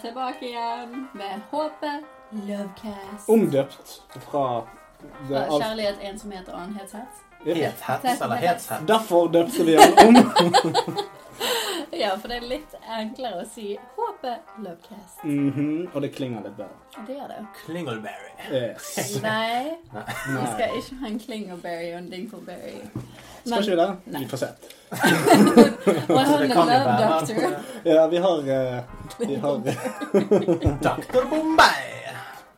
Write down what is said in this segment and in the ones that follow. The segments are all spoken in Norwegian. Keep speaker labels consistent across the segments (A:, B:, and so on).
A: tilbake igjen med håpet Lovecast.
B: Omdøpt fra det
A: Fra
B: alt-
A: Kjærlighet, ensomhet og annenhetshets.
B: Ja.
C: Hethets eller hetshets?
B: Derfor døpte vi den om.
A: Ja, for det er litt enklere å si håpet Lovecast.
B: Mhm, Og det klinger litt bedre.
A: Det gjør det.
C: Klingleberry.
B: Yes.
A: Nei, vi
B: Nei.
A: skal ikke ha en Klingleberry og en Dingleberry.
B: Skal ikke vi det?
A: Nei.
B: Vi får se.
A: Og jeg har
C: Det
A: en
C: kan jo
A: love
C: være.
A: doctor.
B: Ja, vi har, eh, vi har
C: Dr. Bombay.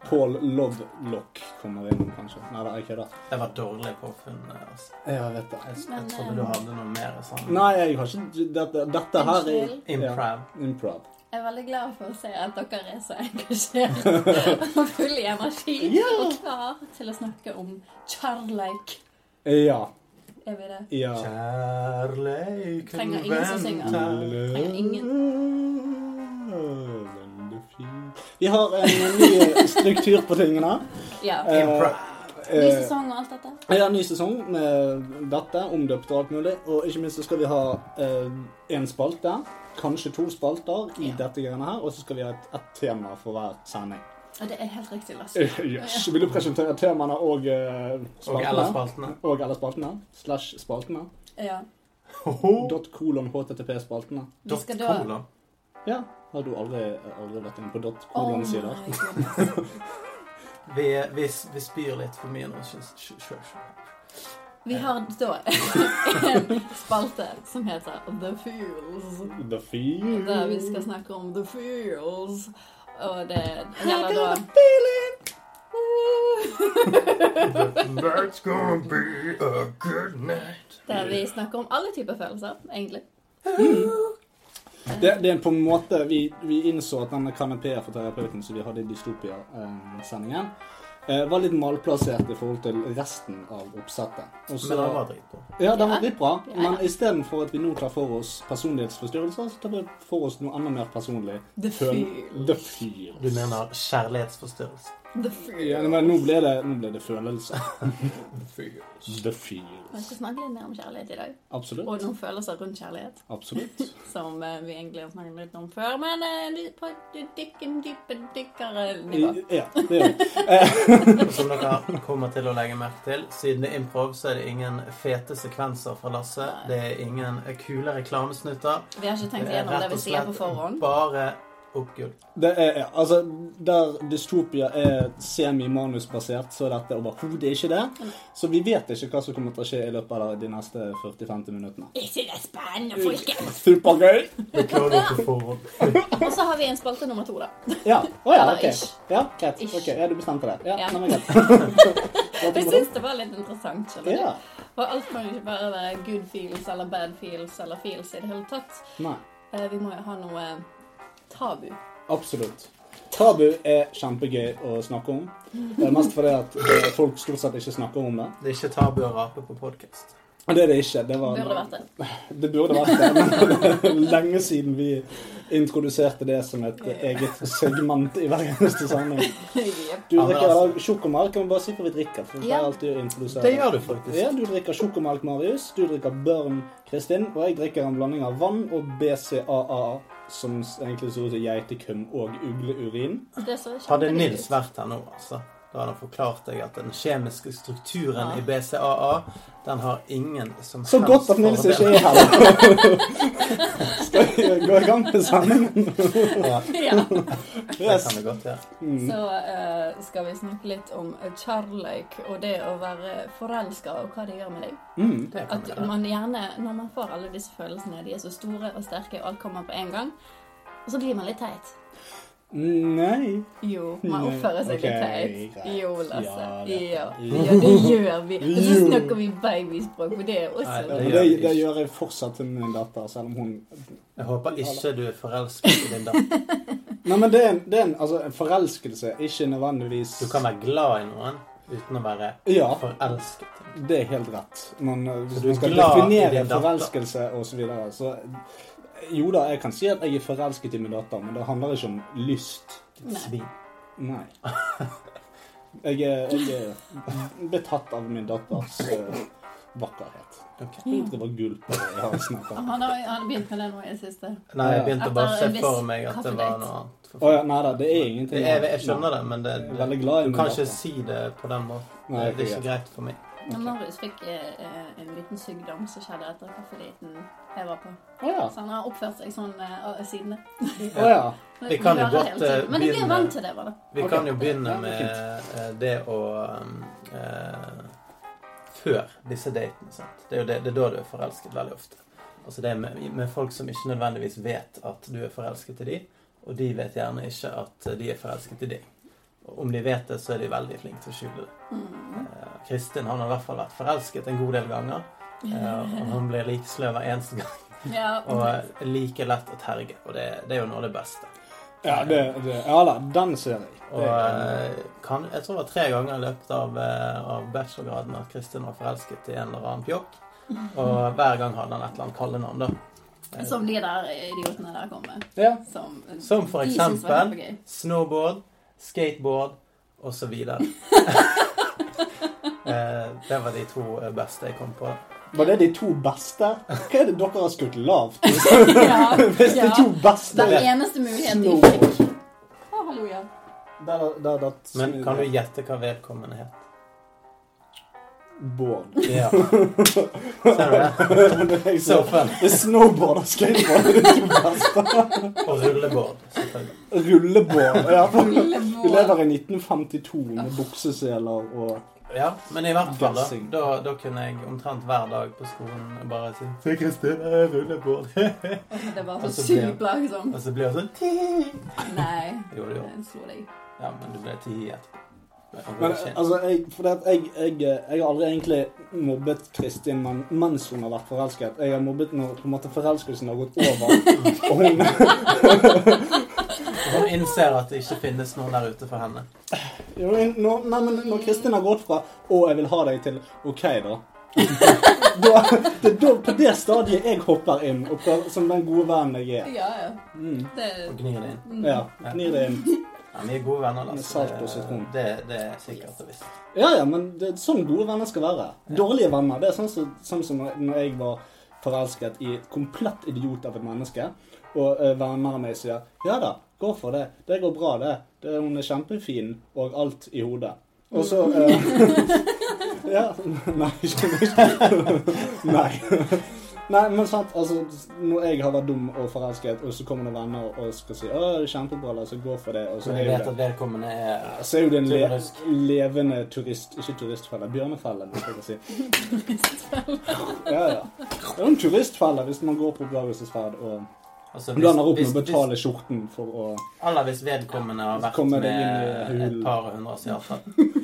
B: Paul Lovelock kommer innom, kanskje. Nei, det er ikke det.
C: Det var dårlig påfunn. Altså.
B: Jeg vet det.
C: Jeg, jeg
A: Men,
C: trodde
A: eh,
C: du hadde noe mer sånn
B: Nei, jeg har ikke Dette, dette her er
A: Unnskyld.
C: improv.
B: improv.
A: Jeg er veldig glad for å se at dere er så engasjert og full i energi
B: Ja.
A: og klar til å snakke om kjærleik.
B: Ja.
A: Er vi det?
B: Ja.
C: Kjærleiken
A: Trenger ingen som synger.
C: venter.
A: trenger ingen.
B: Veldig fint. Vi har en ny struktur på tingene.
A: Ja.
B: Eh,
C: Improv.
A: Ny
B: eh,
A: sesong og alt dette.
B: Ja, ny sesong med dette, omdøpt og alt mulig. Og ikke minst så skal vi ha én spalte, kanskje to spalter, i
A: Ja.
B: dette greiene her. Og så skal vi ha et, et tema for hver sending.
A: Og det er helt riktig, Lars.
B: Eh, Yes. Vil du presentere temaene og eh,
C: Og
B: spaltene?
C: alle spaltene.
B: Og eller spaltene. Slash spaltene.
A: Ja.
C: Ho-ho.
B: Dot kolon http-spaltene.
A: Vi
C: Dot
A: skal da
C: cola.
B: Ja. Har du aldri, aldri vært inne på dot
A: Oh my
B: kolon-sider?
A: goodness.
C: Vi, vi, vi spyr litt for mye nå. syns- sj- sj- sj.
A: Vi har da en spalte som heter The Fools.
B: The Feel.
A: Der vi skal snakke om The Fools. Og det gjelder
B: I
A: da
B: got a feeling.
C: That's gonna be a good night.
A: Der vi snakker om alle typer følelser, egentlig.
B: Det, det er på en måte Vi, vi innså at denne kanapeen for terapeuten som vi hadde i Dystopia-sendingen, eh, var litt malplassert i forhold til resten av oppsettet. Og så-
C: Men det var dritbra.
B: ja, den var litt bra,
A: Ja.
B: men istedenfor at vi nå tar for oss personlighetsforstyrrelser, så tar vi for oss noe enda mer personlig.
A: The
B: Føl-
A: Fools.
B: The Feel.
C: Du mener kjærlighetsforstyrrelse?
A: The
B: Ja,
A: Fools.
B: men nå ble det, nå ble det følelser.
C: Fyrs.
B: The
A: Vi
B: Feel.
A: skal snakke litt mer om kjærlighet i dag. Og
B: Absolutt.
A: noen følelser rundt kjærlighet.
B: Absolutt.
A: Som eh, vi egentlig har snakket litt om før, men eh, vi- på et dykken dype dykkere nivå.
B: Ja, det er det.
C: Som dere kommer til å legge merke til, siden det er improv, så er det ingen fete sekvenser fra Lasse. Det er ingen kule reklamesnutter.
A: Vi har ikke tenkt
C: Det er
A: igjennom det
C: Eh, rett
A: vi
C: og
A: sier på
C: slett
A: forhånd.
C: Bare oppgull.
B: Det er, ja, altså, Der dystopia er semi-manusbasert, så dette er overhodet ikke det. Så vi vet ikke hva som kommer til å skje i løpet av de neste 40-50 minuttene.
A: Ikke det spennende, folkens!
B: Supergøy!
C: Det klarer du på forhånd.
A: Og så har vi en spalte nummer to, da.
B: Ja. Å ja,
A: Eller
B: ok.
A: ish.
B: Ja, greit.
A: Ish.
B: Ok, ja, Du bestemte det. Ja,
A: Ja.
B: nei, men greit.
A: Jeg syns det var litt interessant. skjønner du?
B: Ja.
A: Og alt kan jo ikke bare være good feels eller bad feels eller feels i det hele tatt.
B: Nei.
A: Eh, Vi må jo ha noe tabu.
B: Absolutt. Tabu er kjempegøy å snakke om. Det er mest fordi at eh, folk stort sett ikke snakker om det.
C: Det er ikke tabu å rape på podkast.
B: Og det er det ikke. Det var
A: Burde vært det.
B: Det burde vært det, men det er lenge siden vi introduserte det som et eget segment i hver eneste sammenheng.
A: Jepp.
B: Du
C: Ja, men
B: drikker
C: altså-
B: altså... sjokomelk, kan vi bare si hva vi drikker? for vi
A: Ja.
B: pleier alltid å introdusere
C: Det gjør du faktisk.
B: Ja, du drikker sjokomelk, Marius. Du drikker Børn, Kristin. Og jeg drikker en blanding av vann og BCAA, som egentlig ser ut som geitekøm og ugleurin.
A: Det så kjempe-
C: Hadde Nils vært her nå, altså, da hadde han forklart deg at den kjemiske strukturen
A: Ja.
C: i BCAA, den har ingen som
B: Så godt at Nils ikke er her. Skal vi gå i gang med sendingen?
C: Ja,
A: Ja.
C: det
B: Yes.
C: kan vi godt gjøre.
B: Mm.
A: Så eh, skal vi snakke litt om kjærleik og det å være forelska og hva det gjør med deg.
B: Mm.
C: Det kan
A: At
C: vi gjøre.
A: man gjerne, når man får alle disse følelsene, de er så store og sterke, og alt kommer på en gang, og så blir man litt teit.
B: Mm. Nei.
A: Jo, man
B: Nei,
A: oppfører seg
B: ok,
A: litt teit.
B: greit.
A: Jo, Lasse.
B: Ja, det-
A: Ja,
B: Jo.
A: ja, det gjør vi. Men så
B: Jo.
A: snakker vi babyspråk, for det er
C: Nei,
A: også
B: Ja,
C: det
B: men
C: gjør
B: det,
C: vi
B: det
C: ikke.
B: gjør jeg fortsatt til min datter, selv om hun
C: Jeg håper ikke du er forelsket i din datter.
B: Nei, men det er en, det er en, altså, en forelskelse, ikke nødvendigvis
C: Du kan være glad i noen uten å være
B: Ja,
C: forelsket. i noen.
B: det er helt rett. Men eh,
C: Så
B: hvis
C: du
B: man
C: er
B: skal
C: glad i
B: definere
C: din datter?
B: forelskelse osv., så, videre, så Jo da, jeg kan si at jeg er forelsket i min datter, men det handler ikke om lyst.
C: Ditt svin.
B: Nei. Jeg er, jeg er betatt av min datters eh, vakkerhet.
C: Ok.
B: Jeg tror ikke det var gull på det i halsen.
A: Og Han har, han har begynt med det nå i det siste.
C: Nei, jeg begynte
A: Etter
C: bare å se
A: en viss
C: for meg at det var
A: kaffedate.
C: noe annet.
B: Å ja, nei da, det er ingenting.
C: Det er, jeg skjønner det, men det,
B: Jeg er
C: det,
B: veldig glad i
C: du
B: min
C: kan ikke
B: datter.
C: si det på den måten.
B: Nei,
C: det er
B: ikke
C: ikke greit for meg.
A: Men Marius fikk eh, eh, en liten sykdom som skjedde etter kaffedaten jeg var på.
B: Å ja.
A: Så han har oppført seg sånn eh, av- siden det.
B: Å ja.
C: Vi kan jo
A: hører
C: godt,
A: hele tiden.
C: eh,
A: Men jeg blir
C: begynne-
A: vant til det, var det.
C: Vi
B: Ok.
C: kan jo begynne
B: Ja, det er
C: med eh, det å eh, eh, Før disse datene. Sant? Det er jo det, det er da du er forelsket veldig ofte. Altså det er med, med folk som ikke nødvendigvis vet at du er forelsket i dem, og de vet gjerne ikke at de er forelsket i deg. Og Om de vet det, så er de veldig flinke til å skjule det.
A: Mm.
C: Eh, Kristin han har i hvert fall vært forelsket en god del ganger, eh, og han blir like sløv hver eneste gang.
A: ja,
C: Og eh, like lett å terge, og det, det er jo noe av det beste.
B: Ja, det, det, ja da, den ser jeg. Det
C: Og
B: er-
C: eh, kan, jeg tror det var tre ganger i løpet av, eh, av bachelorgraden at Kristin var forelsket i en eller annen pjokk. Og hver gang hadde han et eller annet kallenavn, da. Eh,
A: som de der idiotene der kom med.
B: ja.
A: Som, eh,
C: Som for
A: de synes var
C: eksempel-
A: kjempegøy.
C: Snowboard, skateboard og så videre. eh, det var de to eh, beste jeg kom på.
B: Var det de to beste? Hva er det dere har skutt lavt?
A: Ja,
B: Hvis de
A: ja.
B: to beste
A: Den eneste muligheten de fikk.
B: Snowboard.
A: Å, halleluja.
B: Der, der, der,
C: Men kan du gjette hva vedkommende het?
B: Bård.
C: Ja. Ser du det? Så fun.
B: Det er snowboard og skateboard. Det er de to beste.
C: Og rulleboard, selvfølgelig.
B: Rullebånd. Ja, for-
A: Lille
B: vi
A: mål.
B: lever i 1952 med bukseseler og
C: Ja, men i hvert fall, da,
B: Gassing.
C: da, da kunne jeg omtrent hver dag på skolen bare si Se, Kristin, jeg er rulleboard.
A: Det var så
C: Og så ble-
A: sykt plagsomt.
C: Og så blir hun sånn ti.
A: Nei,
C: Jo, det gjorde
A: jeg slo deg.
C: Ja, men du ble ti etterpå. Men,
B: Men
C: ikke-
B: altså, jeg, for det at jeg, jeg, eh, jeg har aldri egentlig mobbet Kristin men, mens hun har vært forelsket. Jeg har mobbet når på en måte forelskelsen har gått over. Og hun,
C: Hun innser at det ikke finnes noen der ute for henne.
B: jo, når, nei, men når Kristin har gått fra 'Å, jeg vil ha deg' til 'OK, da'. da det er da, på det stadiet jeg hopper inn, og prøver, som den gode vennen jeg er.
A: Ja, ja.
B: Mm.
A: Det,
C: Og gnir det inn.
A: mm.
B: Ja, Gnir det inn.
C: Ja, vi er gode venner, da.
B: Med
C: så
B: salt og sitron.
C: Det, det, det er sikkert og visst.
B: Ja, ja, men det er sånn gode venner skal være. Dårlige venner. Det er sånn som, sånn som når jeg var forelsket i et komplett idiot av et menneske, og eh, venner av meg sier 'ja da, gå for det, det går bra, det, det hun er kjempefin og alt i hodet'. Og så
C: Mm.
B: eh, Ja. Nei, ikke Nei. Nei, men sant, altså, når jeg har vært dum og forelsket, og så kommer det venner og skal si 'Å, det er kjempebra, la oss gå for det', og så
C: Så
B: er
C: jeg
B: jo
C: vet
B: det
C: at vedkommende er
B: så er jo det en le
C: Turist.
B: levende turist Ikke turistfelle, bjørnefelle. Hvis jeg kan si. Ja, ja. Det er jo en turistfelle hvis man går på Blarhusets ferd og
C: altså,
B: blander opp med
C: hvis,
B: å betale skjorten for å
C: Eller hvis vedkommende har vært
B: Kommer det inn
C: med
B: i
C: et
B: hulen?
C: par hundre asiater.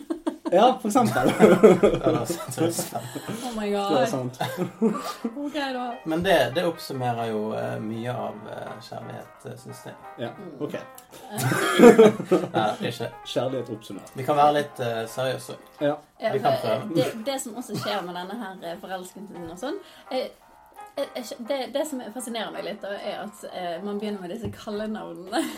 B: Ja, for eksempel.
C: Eller turister.
A: Oh my
B: Det er
A: god.
B: sant.
A: Ok, da.
C: Men det, det oppsummerer jo eh, mye av eh, kjærlighet, syns jeg.
B: Ja, OK.
C: Nei, det er ikke.
B: Kjærlighet oppsummert.
C: Vi kan være litt eh, seriøse òg.
B: Ja.
A: Ja,
C: Vi kan
A: for, eh,
C: prøve.
A: det, det som også skjer med denne her eh, forelskelsen og sånn eh, eh, eh, det, det som fascinerer meg litt, da, er at eh, man begynner med disse kallenavnene.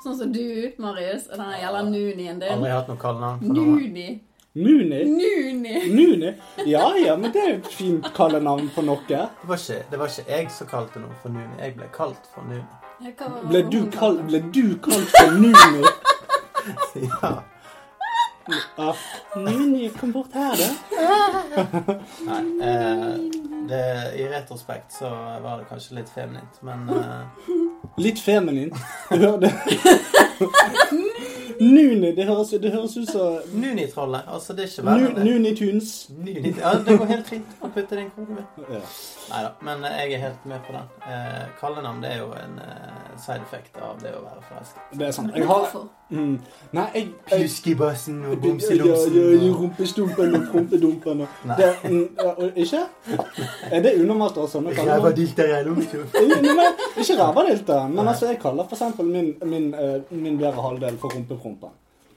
A: Sånn som du, Marius, og den her jævla Nunien din.
C: Aldri hatt noe kallenavn for noen.
A: Nuni.
B: Muni.
A: Nuni.
B: Muni? Ja ja, men det er jo et fint kallenavn på noe.
C: Det var, ikke, det var ikke jeg som kalte noen for Nuni. Jeg ble kalt for Nuni.
A: Hva var-
B: Ble du
A: hun
B: kalt,
A: kalte?
B: ble du kalt for Muni?
C: Ja.
B: Ja. Muni, kom bort her, du.
C: Nei, eh, det, I retrospekt så var det kanskje litt feminint, men eh,
B: Litt feminin. Du hører det? Nuni. Det høres, det høres ut som
C: Nuni-trollet, altså det er ikke verre.
B: Nu-
C: enn det.
B: Nuni Tunes.
C: Nuni, ja, det går helt fint å putte det i en krone.
B: Ja.
C: Nei da, men eh, jeg er helt med på den. Eh, kallenavn det er jo en eh, side effect av det å være forelsket.
B: Det er sant.
A: Men
B: Jeg har
A: hvorfor?
B: mm, Nei, jeg, jeg
C: Huskybassen og
B: Ja, ja, ja, Rumpestumpen og prompedumpen og
C: Nei.
B: det, mm, ja, og- Ikke? Er det undermat altså? og sånne kallenavn? Nei, nei, Ikke rævadilte, men altså, jeg kaller for eksempel min, min, eh, min bedre halvdel for rumpeprompen.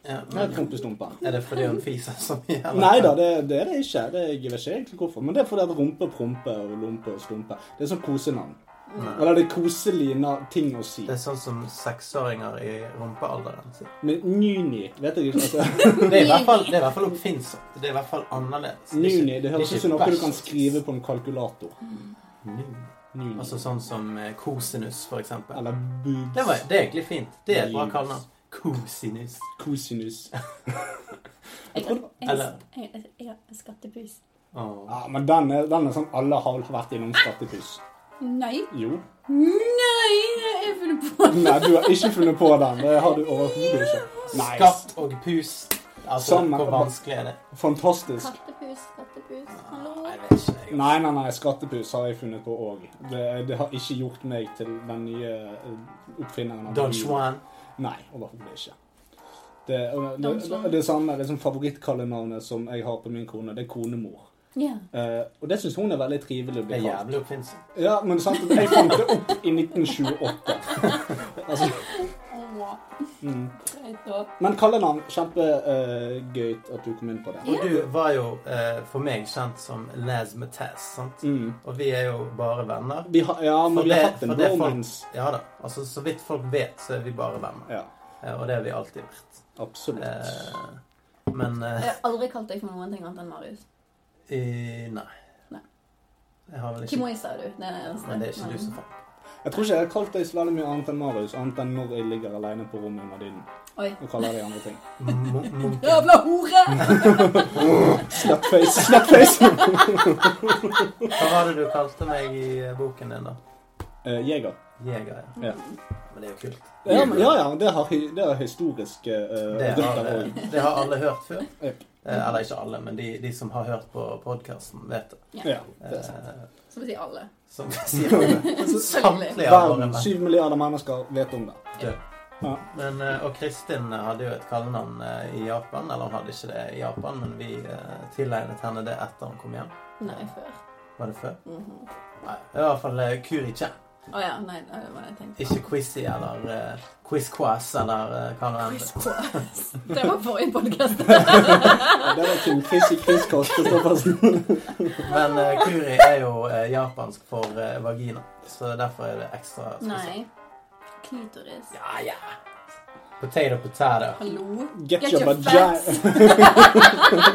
C: Ja,
B: Nei,
C: men,
B: Prompestumpen.
C: er det fordi hun fiser så mye? eller?
B: Nei da, det, det er det ikke. Det, jeg vet ikke egentlig hvorfor. Men det er fordi at rumpe, prompe og lompe og stumpe Det er sånn kosenavn.
C: Nei.
B: Eller det er koselige na- ting å si.
C: Det er sånn som seksåringer i rumpealderen sier.
B: Men Nuni vet jeg ikke. Altså.
C: Det er i hvert fall, det er i hvert fall oppfinnsomt. Det er i hvert fall annerledes. er ikke-
B: Nuni, det høres
C: er
B: ut
C: ikke
B: som noe du
C: verst.
B: kan skrive på en kalkulator.
C: Nuni.
B: Nuni.
C: Altså sånn som eh, kosinus, for eksempel.
B: Eller boobs.
C: Det, var, det er egentlig fint. Det er et bra
B: Nus.
C: kallenavn. Kosinus.
B: Cosinus.
A: Jeg, jeg,
C: Eller-
A: jeg, jeg, jeg, jeg skattepus.
C: Åh.
B: Ja, men den er, den er sånn alle har vel vært innom skattepuss.
A: Nei.
B: Jo.
A: Nei, jeg funnet på det.
B: Nei, du har ikke funnet på den. Det har du overhodet ikke. Nei.
C: Skatt og pus. Altså,
B: Sammen-
C: hvor vanskelig er det?
B: Fantastisk.
A: Kattepus, kattepus, hallo.
C: Nei, jeg vet ikke. jeg.
B: Nei, nei, nei. Skattepuss har jeg funnet på òg. Det, det har ikke gjort meg til den nye eh, oppfinneren. av
C: Don
B: bilen.
C: Juan.
B: Nei, overhodet ikke. Det, og det,
A: Don
B: det,
A: Juan.
B: det samme liksom, favorittkallenavnet som jeg har på min kone, det er konemor.
A: Ja.
B: Eh, og det syns hun er veldig trivelig å
C: Det
B: bli
C: er
B: kalt.
C: jævlig oppfinnsomt.
B: Ja, men sant, jeg fant det opp i 1928. altså,
A: Åh,
B: mm.
A: greit da.
B: Men kallenavn, kjempegøy at du kom inn på det.
C: Og du var jo eh, for meg kjent som Laz Mataz, sant?
B: Mm.
C: Og vi er jo bare venner.
B: Vi har, ja, men vi har
C: For det-
B: hatt en
C: for det folk-
B: bromance.
C: Ja da. Altså, så vidt folk vet, så er vi bare venner.
B: Ja,
C: Eh, og det har vi alltid vært.
B: absolutt.
C: Eh, men eh,
A: Jeg har aldri kalt deg for noen ting annet enn Marius.
C: i- nei.
A: Nei.
C: Jeg har vel ikke
A: Kimoi sa du. Det er det eneste.
C: Men det er ikke du som fant
B: Jeg tror ikke jeg har kalt deg så veldig mye annet enn Marius, annet enn når jeg ligger alene på rommet under dynen.
A: Oi.
B: Og kaller deg andre ting.
C: Mo- Munken.
A: Jævla hore!
B: Slutface, slutface!
C: Hva var det du kalte meg i eh, boken din, da?
B: Eh, Jeger.
C: Jeger, ja.
B: Ja.
C: Men det er jo kult.
B: Ja, men- ja, ja, det har, hy- det har historiske uh,
C: Det har,
B: røtter òg.
C: eh, det har alle hørt før.
B: Yep.
C: Eh, Eller ikke alle, men de, de som har hørt på podkasten, vet det.
B: Ja, det er sant.
C: Eh,
A: Som å si alle.
C: Som sier det. Samtlige av våre
B: Verden, syv milliarder mennesker vet om det.
C: døde.
B: Ja.
C: Men, eh, og Kristin hadde jo et kallenavn eh, i Japan. Eller hun hadde ikke det i Japan, men vi eh, tilegnet henne det etter hun kom hjem.
A: Nei, før.
C: Var det før?
A: Mhm.
C: Nei, det var i hvert fall eh, Kuri-chan.
A: Å ja. Nei, nei, det var det jeg tenkte.
C: Ikke Quizzy eller eh, Quiz-Quaz eller eh, hva det
A: Quiz
C: heter.
A: Quest. Det var forrige podcast.
B: Det var Kim Chris i Chris Kristoffersen.
C: Men eh, Kuri er jo eh, japansk for eh, vagina, så derfor er det ekstra spesielt.
A: Nei. Klitoris.
C: Ja, ja. Potato, potato.
A: Hallo?
B: Get,
A: Get
B: your
A: your
B: vagina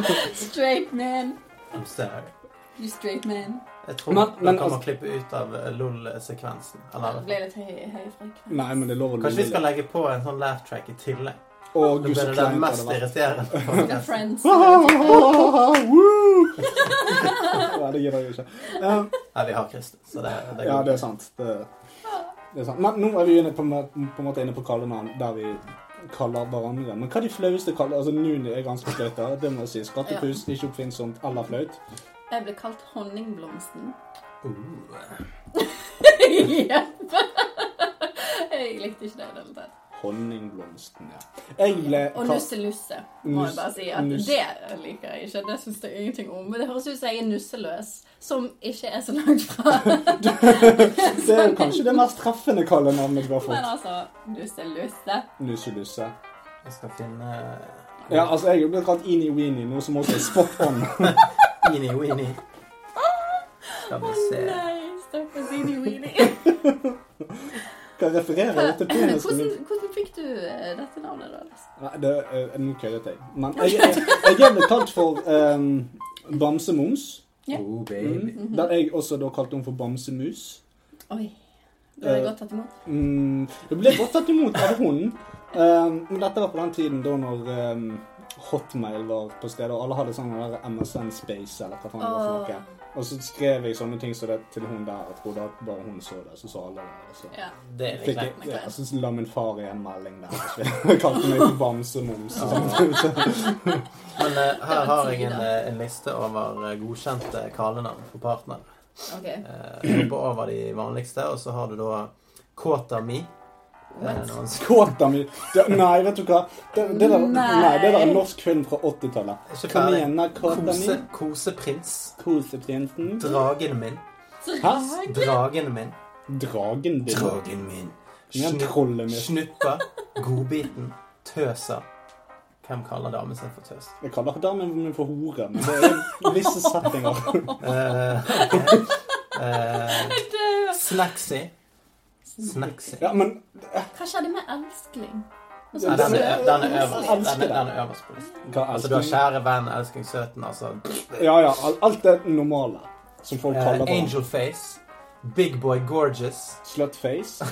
A: Straight man.
C: I'm sorry.
A: You straight man.
C: Jeg tror
B: Men- men
C: dere må
B: altså-
C: klippe ut av eh, LOL-sekvensen.
A: Det
C: Eller
A: ble litt høy, høy frekvens.
B: Nei, men det er lov å
C: Kanskje vi skal
B: lille.
C: legge på en sånn laugh track i tillegg.
B: Og
C: Da
B: Gud,
C: blir
B: så
C: det den
B: kleint det
C: mest
B: hadde vært.
C: irriterende.
A: The
C: podcasten.
A: Friends.
B: Woo! Nei, det gidder jeg ikke. Eh,
C: Nei, vi har Kristin, så det, det
B: ja,
C: går.
B: det er sant. Det, det er sant. Men nå er vi inne på, en måte- på en måte inne på kallenavn der vi kaller hverandre. Men hva er de flaueste kaller... Altså, Nuni er ganske flaut, da. Det må jeg si. Skattepus, ikke oppfinnsomt eller flaut.
A: Jeg ble kalt Honningblomsten.
C: Uh,
A: Jepp. Jeg likte ikke det i det hele tatt.
B: Honningblomsten, ja. Jeg ble
A: Og Nusselusse, må jeg bare si. at
B: Nuss-
A: Det liker jeg ikke. Det syns jeg ingenting om. Men det høres ut som jeg er nusseløs, som ikke er så langt fra.
B: Det er jo kanskje det mest treffende kallenavnet du
A: Men
B: har fått.
A: altså, nusselusse.
B: Nuselusse.
C: jeg skal finne uh,
B: Ja, altså, jeg er blitt kalt Ini-Weenie, noe som også er spot on.
C: Eenie Weenie. Skal vi se
A: Nei, stakkars Weenie.
B: Kan referere dette til penisen
A: Hvordan,
B: min.
A: hvordan fikk du eh, dette navnet, da?
B: Nei, det er eh, Nå køddet jeg. Men jeg, jeg, jeg er blitt kalt for um, Bamsemums.
A: Ja.
C: Oh, baby.
B: Mm. Der jeg også da kalte hun for Bamsemus.
A: Oi. Du ble
B: Eh,
A: godt tatt imot.
B: Mm, det ble godt tatt imot av hunden. Um, men dette var på den tiden da når um, Hotmail var på stedet, og alle hadde sånn der MSN Space eller hva faen det var for noe. Og så skrev jeg sånne ting som det til hun der. Jeg trodde at bare hun så det. Så så alle det. Og så.
A: Ja.
C: Det er
B: Fikk
C: litt
B: jeg,
C: lett.
A: Nei,
B: ja,
A: klart.
B: jeg synes la min far i en melding der. så Jeg kalte meg for bamsemums. og sånt.
C: Men eh, her
A: var
C: har
A: tid,
C: jeg en,
A: da.
C: eh, en liste over eh, godkjente kallenavn for partner.
A: OK.
C: Eh, Jeg hopper over de vanligste, og så har du da Kåta mi. uh, Det er
B: Eh,
A: What?
C: noen som-
B: Kåta mi det, Nei, vet du hva? Det, det, der, nei.
A: Nei.
B: det der er en norsk film fra 80-tallet.
C: Ikke
B: Hva
C: ferdig.
B: mener kåta mi?
C: Kose, koseprins.
B: Koseprinsen?
C: Dragen min.
A: Drage?
C: Dragen min.
B: Dragen din.
C: Dragen min.
B: Ja,
C: Snu-
B: trollet mitt.
C: Snuppa. Godbiten. Tøsa. Hvem kaller damen sin for tøs?
B: Jeg kaller ikke damen min for hore, men det er visse settinger.
C: Eh, ok. Eh,
A: Jeg dør.
C: Snacksy. Snacksy.
B: Ja, men
A: Hva skjedde med elskling? Og så-
C: Ja, den, er, den, er øverst,
B: Elsker
C: den,
B: det.
C: er, den er øverst på listen.
B: hva
C: Altså, du har kjære venn, elsking søten, altså
B: Ja, ja. al- Alt det normale som folk
C: eh,
B: kaller det.
C: Angel face. Big boy gorgeous.
B: Slutface.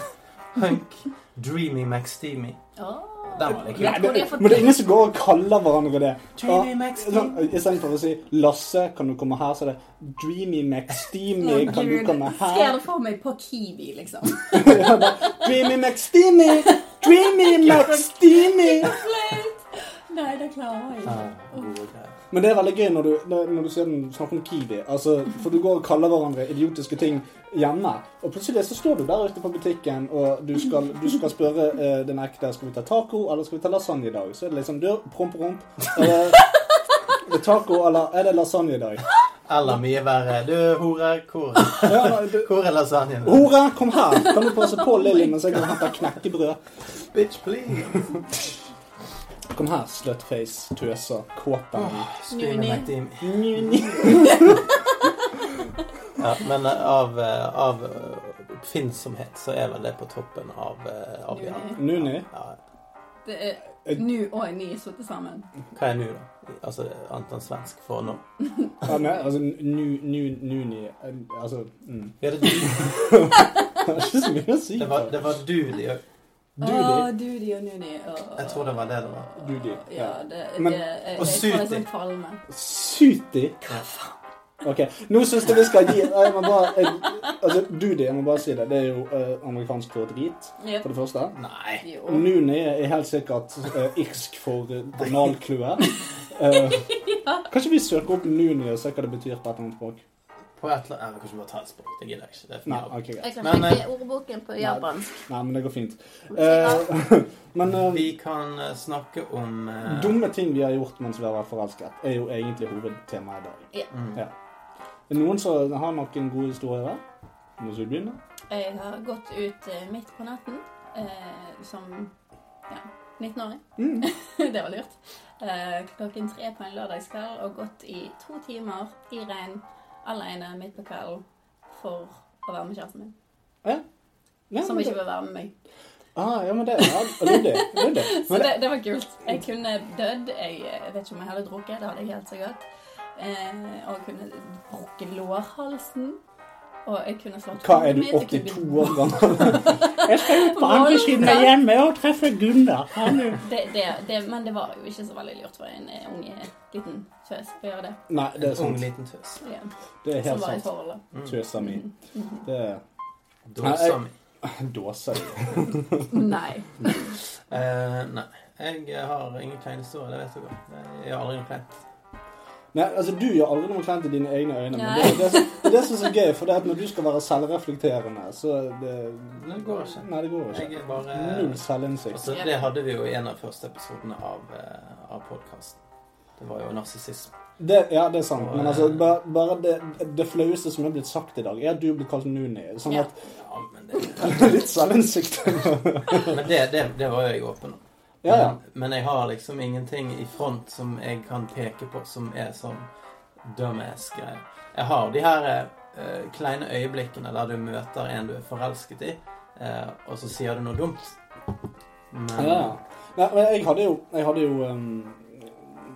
C: Hunk. Dreamy McSteamy.
A: Åh.
C: Den var litt
B: Nei,
A: Jeg tror de har
B: det,
A: fått-
B: men det er ingen som går og kaller hverandre det.
C: Dreamy
B: Sånn,
C: McSteamy.
B: Istedenfor å si 'Lasse, kan du komme her?' så er det 'Dreamy McSteamy, kan du komme
A: Ser jeg
B: her?'
A: det for meg på Kiwi, liksom.
B: Ja, da, 'Dreamy McSteamy, Dreamy McSteamy'.
A: Nei, det klarer jeg ikke.
C: Ah, gode greier.
B: Men det er veldig gøy når du, når du sier den, snakker om Kiwi. Altså, for du går og kaller hverandre idiotiske ting hjemme. Og plutselig så står du der ute på butikken, og du skal, du skal spørre eh, din ekte skal vi ta taco eller skal vi ta lasagne i dag. Så er det liksom du, promp, promp. Er det, er det taco eller er det lasagne i dag?
C: Eller mye verre. Du, hore, hvor,
B: Ja, nei, du,
C: hvor er lasagnen?
B: Hore, kom her! Kan du passe på Lilly mens jeg går og henter knekkebrød?
C: Bitch, please.
B: Kom her, slutface, tøser, kåpen.
C: Dreamy
A: Nuni.
C: McDreamy.
B: Nini.
C: Ja, men eh, av, eh, av eh, oppfinnsomhet så er vel det på toppen av, eh, av de andre.
B: Nuni?
C: Ja.
A: Det er nu og ny satt sammen.
C: Hva er nu, da? Altså Anton Svensk for nå.
B: Ja, nei, altså, nu, nu, nuni Altså mm.
C: Ja, det,
B: Det er ikke så mye å si.
C: det, var, det var du de
B: Doody.
A: Dudi og Nuni. åh.
C: Jeg tror det var det det var.
B: Doody,
A: Ja,
B: ja.
A: det,
B: Men-
A: det, jeg, jeg tror
C: og
A: det er
C: Suti.
A: sånn kvalme.
B: Suti. Ok, Nå syns jeg vi skal gi jeg må bare, jeg, altså, Doody, jeg må bare si det. Det er jo eh, amerikansk for drit,
A: Ja.
B: for det første.
C: Nei.
A: Jo.
B: Nuni er helt sikkert eh, irsk for eh, banalklue. Eh, kanskje vi søker opp Nuni og ser hva det betyr på et eller annet språk?
C: På et eller annet Nei, vi kan ikke bare ta et språk. Det gidder jeg ikke. Det er for
B: Nei,
C: mye
B: ok, greit.
A: Jeg kan
C: Men, eh,
A: sjekke ordboken på japansk.
B: Nei, men det går fint. Eh, men
C: arbeid.
B: eh,
C: Vi kan eh, snakke om eh,
B: dumme ting vi har gjort mens vi har vært forelsket, er jo egentlig hovedtemaet i dag.
C: mm.
B: Ja. Er det noen som har noen gode historier der? Må vi begynne?
A: Jeg har gått ut eh, midt på natten eh, som ja, 19-åring.
B: Mm.
A: det var lurt. Eh, klokken tre på en lørdagskveld og gått i to timer i regn alene midt på kvelden for å være med kjæresten min.
B: Ja,
A: Som
B: men
A: ikke
B: det-
A: vil være med meg.
B: Ah, ja, men det ja, det er det. det, er det.
A: Så
B: Men det
A: det, det var kult. Jeg kunne dødd. Jeg, eh, vet ikke om jeg hadde drukket. Det hadde jeg helt sikkert. Eh, og jeg kunne brukket lårhalsen. Og jeg kunne slått
B: hva er du,
A: hodet mitt, jeg kunne
B: 82 år gammel? jeg skal ut
A: på andre siden av
B: hjemme og treffe Gunnar.
A: det, det, det, men det var jo ikke så veldig lurt for en eh, ung eh, liten tøs å gjøre det.
B: Nei, det er
C: en ung,
B: sant.
C: liten tøs.
A: Ja,
B: Det er
A: som
B: helt
A: var i
B: sant.
A: forholdet.
C: Mm.
B: Tøsa mi.
A: Mhm.
B: Det er
C: Dåsa mi.
B: dåsa di.
A: Nei.
C: Eh, nei. Jeg har ingen kleine historier, det vet du godt. Jeg har aldri noe kleint.
B: Nei, altså Du gjør aldri noe kleint i dine egne øyne, men
A: Nei.
B: det, er det, som- det er det som er så gøy. For det at når du skal være selvreflekterende, så det,
C: Nei, det går ikke.
B: Nei, det går ikke.
C: Jeg er eh, bare
B: Null selvinnsikt.
C: altså, Det hadde vi jo i en av første episodene av, eh, av podkasten. Det var jo narsissisme.
B: Det, ja, det er sant. Men altså, bare, bare det, det flaueste som er blitt sagt i dag, er at du blir kalt Nuni. Sånn
A: Ja.
B: at
C: Ja, men det,
B: Litt selvinnsikt.
C: men det, det, det var jo jeg åpen om.
B: ja, ja.
C: Men, men jeg har liksom ingenting i front som jeg kan peke på som er sånn dumbass-greier. Jeg har de her eh, kleine øyeblikkene der du møter en du er forelsket i, eh, og så sier du noe dumt. Men
B: ja, ja. Nei, men jeg hadde jo, jeg hadde jo ehm,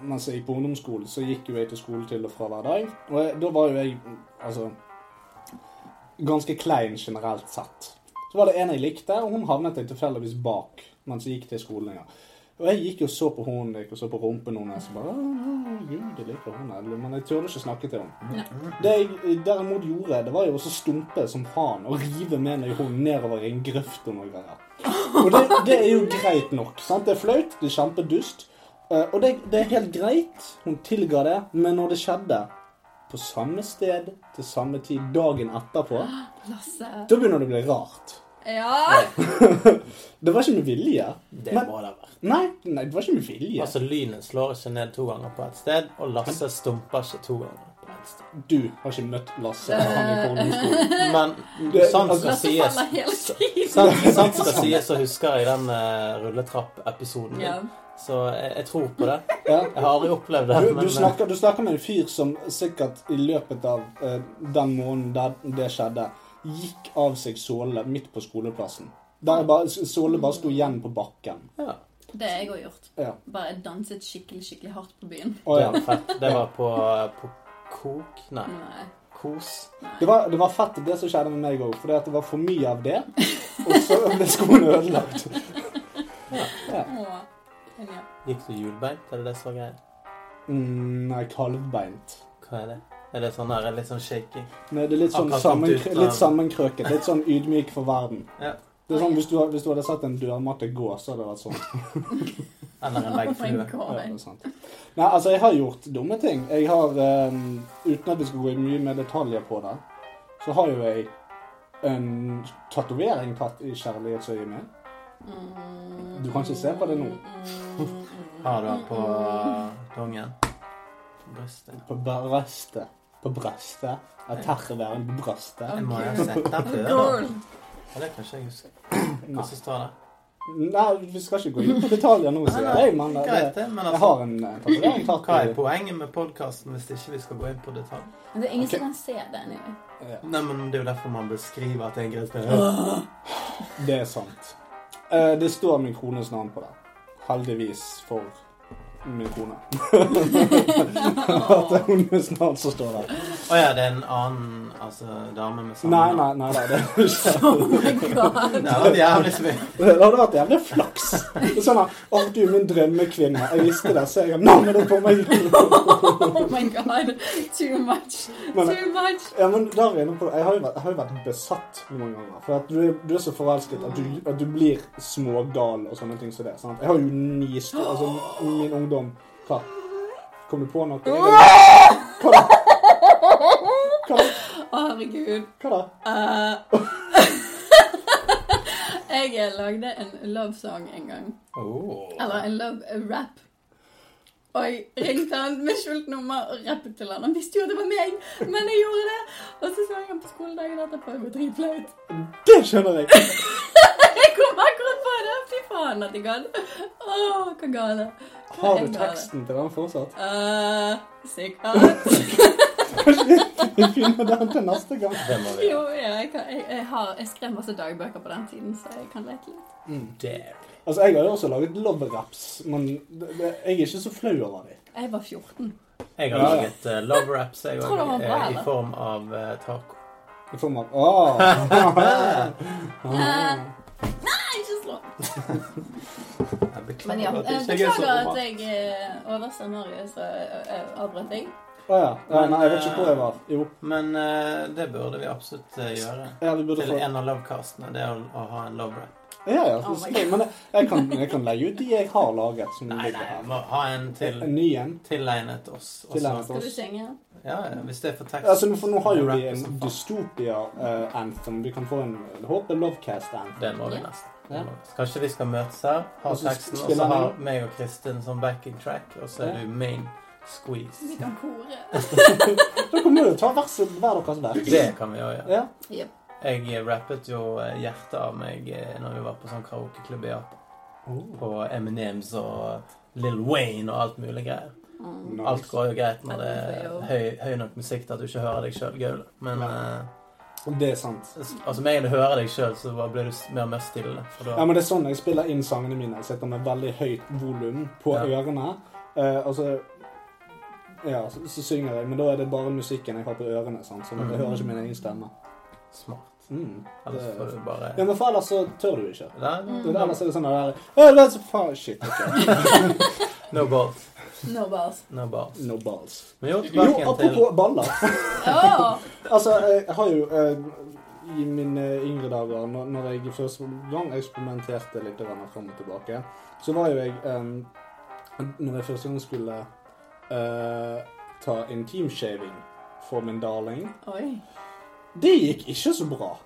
B: Mens jeg gikk på ungdomsskolen, så gikk jo jeg til skole til og fra hver dag. Og jeg, da var jo jeg altså ganske klein generelt sett. Så var det en jeg likte, og hun havnet jeg tilfeldigvis bak mens jeg gikk til skolen. Ja. Og jeg gikk jo og så på hånden jeg gikk og så på rumpen hennes og bare «Å, Gud, jeg liker henne. Men jeg turde ikke snakke til henne. Det jeg derimot gjorde, det var jo også stumpe som faen og rive med meg hånden nedover i en grøft og noe greier. Og det, det er jo greit nok. sant? Det er flaut, det er kjempedust. eh, Og det, det er helt greit. Hun tilga det, men når det skjedde på samme sted til samme tid dagen etterpå,
A: Lasse.
B: da begynner det å bli rart.
A: Ja!
B: Det var ikke med vilje.
C: det
B: Men-
C: må det være.
B: Nei, nei det var ikke med vilje.
C: Altså, lynet slår ikke ned to ganger på et sted, og Lasse stumper ikke to ganger på et sted.
B: Du har ikke møtt Lasse. Han er på ungdomsskolen.
C: Men
B: Det- altså,
C: sant skal
A: Lasse
C: sies
A: faller hele tiden.
C: sant, sant skal sies, så husker jeg den eh, rulletrapp-episoden. din.
A: Ja.
C: Så jeg, jeg tror på det.
B: Ja.
C: Jeg har aldri opplevd det.
B: Du,
C: men,
B: du,
C: eh,
B: snakker, du snakker med en fyr som sikkert i løpet av eh, den måneden der det skjedde, gikk av seg sålene midt på skoleplassen. Der jeg bare, sålene bare sto igjen på bakken.
C: Ja.
A: Det har jeg òg gjort.
B: Ja.
A: Bare danset skikkelig skikkelig hardt på byen.
B: Å, ja.
C: Det var fett. Det var på, eh, på Kok? Nei,
A: Nei,
C: Kos.
A: nei.
B: Det var, det var fett det som skjedde med meg òg, for det var for mye av det. Og så ble skoen ødelagt.
A: Åh, ja.
C: Gikk du hjulbeint? Er det det som var greia?
B: Mm, nei, kalvbeint.
C: Hva er det? Er det sånn her, er det litt sånn shaking?
B: Nei, det er litt sånn
C: Akkurat som
B: sammen,
C: du-
B: litt sammenkrøket. Litt sånn ydmyk for verden.
C: Ja.
B: Det er sånn, hvis, du, hadde- hvis du hadde sett en dørmatte gå, så hadde det vært sånn.
C: Eller en
A: Oh my
C: veggflue?
B: Ja, det
A: god.
B: er sant. Nei, altså, jeg har gjort dumme ting. Jeg har, eh, Uten at vi skal gå i mye mer detaljer på det, så har jo jeg en tatovering tatt i kjærlighetsøyet mitt.
A: Mm.
B: Du kan ikke se på det nå.
A: Mm.
C: Har du den på eh, dongen? På brystet?
B: På brøstet. På brøstet. Av terrorværen på brøstet.
C: Jeg må jo ha sett den før. da.
A: Girl.
C: Ja, det kan ikke jeg huske. Hva
B: Nei.
C: som står der?
B: Nei, vi skal ikke gå inn på detaljer nå, sier jeg. Men det,
C: Greit, det, men
B: jeg
C: altså
B: har en eh, tatovering tatt
C: Hva er
B: i
C: poenget med podkasten hvis ikke vi skal gå inn på detalj?
A: Men det er ingen
B: Ok.
A: som kan se det anyway.
B: Ja,
C: Nei, men Det er jo derfor man beskriver at det er en greit
B: Det er sant. Eh, Det står min kones navn på det. Heldigvis for min kone. At det er hennes navn som står der.
C: Å ja, det er en annen altså, dame med samme
B: Nei,
C: navn.
B: nei, nei. nei det, er ikke.
A: Oh my god.
C: Det var jævlig smitt.
B: det hadde vært jævlig flaks. Det er Sånn her, Å, du er min drømmekvinne. Jeg visste det, så jeg har navnet på meg.
A: Oh my god. Too much.
B: Men
A: Too much.
B: Ja, men der er vi inne på det. Jeg har jo vært, jeg har jo vært besatt noen ganger. For at du, er- du er så forelsket at du, at du blir smågal og sånne ting som det. Sant? Jeg har jo nist Altså, min ungdom Hva? Kom du på noe? Hva da? Hva da?
A: Å, herregud.
B: Hva da?
A: Eh, jeg lagde en love song en gang. Eller en love rap. Og jeg ringte han med skjult nummer og rappet til han. Han visste jo at det var meg, men jeg gjorde det. Og så så jeg han på skoledagen etterpå. Jeg var dritflaut.
B: Det skjønner jeg.
A: Jeg kom akkurat på det! Fy faen at jeg gadd. Å, hva gale. Hva
B: Har
A: er
B: du
A: gale?
B: teksten til den fortsatt?
A: Eh, sikkert.
B: Vi finner den til neste gang.
C: Det må vi
A: Jo, ja, jeg, kan, jeg, jeg, har, jeg skrev masse dagbøker på den tiden, så jeg kan leke litt.
C: Dare.
B: Altså, Jeg har jo også laget love-raps, men det, det, jeg er ikke så flau over dem.
A: Jeg var 14.
C: Jeg har
B: Ja.
C: laget eh, love raps jeg
A: Tror du
C: også,
A: det var bra,
C: eh, i
A: eller?
C: form av eh, taco.
B: I form av Ah! Åh! Ah.
A: Eh, nei, ikke slå!
C: Jeg
A: Men ja,
C: beklager at
A: eh,
C: ikke jeg er så
A: beklager at
C: romantisk.
A: jeg eh, overser Marius og eh, avbrøt deg.
B: Å ja. ja. Nei, jeg vet ikke hvor jeg var. Jo.
C: Men eh, det burde vi absolutt eh, gjøre.
B: Ja, vi burde
C: Til
B: få
C: en av lovecastene. Det er å, å ha en love rap.
B: Ja, ja.
A: Oh my
B: så- men jeg, jeg, kan, jeg kan leie ut de jeg har laget. som
C: Nei,
B: ligger
C: nei,
B: her.
C: vi må ha en til,
B: En ny en.
C: tilegnet oss. og så-
B: Tilegnet
A: Skal du synge?
C: Ja, ja, hvis det er for tekst.
B: Altså, nå- for nå har jo
C: Rapper
B: vi
C: som
B: en
C: faen.
B: dystopia-anthem. vi kan få en jeg håper Lovecast-anthem.
C: Det må vi
A: Ja.
C: nesten.
B: Ja.
C: Så Kanskje vi skal møtes her, ha
B: Og så
C: teksten, og
B: spiller
C: så har
B: han
C: meg og Kristin som backing track, og så er
B: Ja.
C: du main
A: Vi
C: squeeze.
A: kan kore.
B: Da kan vi jo ta verset hver deres vers.
C: Det kan vi òg gjøre.
B: Ja.
A: Jep.
C: Jeg rappet jo eh, hjertet av meg eh, når vi var på sånn karaokeklubb i Japan.
B: Oh,
C: På Eminems og Lil Wayne og alt mulig greier.
A: Mm.
B: nice.
C: Alt går jo greit når det
A: Ja,
C: er
A: det
C: høy, høy nok musikk til at du ikke hører deg sjøl, Gaule. Men
B: Ja.
C: eh,
B: Det er sant.
C: altså, med en gang du hører deg sjøl, så bare blir du s- mer og mer stille. For
B: Ja,
C: da
B: men det er sånn jeg spiller inn sangene mine. Jeg setter med veldig høyt volum på
C: Ja.
B: ørene. eh, og så ja, så, så synger jeg, men da er det bare musikken jeg har på ørene. Sant? Sånn at jeg
C: Mm.
B: hører ikke min egen stemme.
C: Smart.
B: Mm.
C: Ellers får du bare
B: Ja, men for ellers så tør du ikke.
C: Nei,
B: Men ellers er det sånn der oh, that's a far Shit, ok.
C: No balls.
A: No balls.
C: No balls.
B: No balls.
C: Men jo,
B: Jo,
C: tilbake igjen til
B: apropos baller.
A: Åh!
B: Altså, jeg har jo eh, i mine yngre dager, når, når jeg første gang eksperimenterte litt grann fram og tilbake, så var jo jeg eh, Når jeg første gang skulle eh, ta intimshaving for min darling
A: Oi.
B: Det gikk ikke så bra.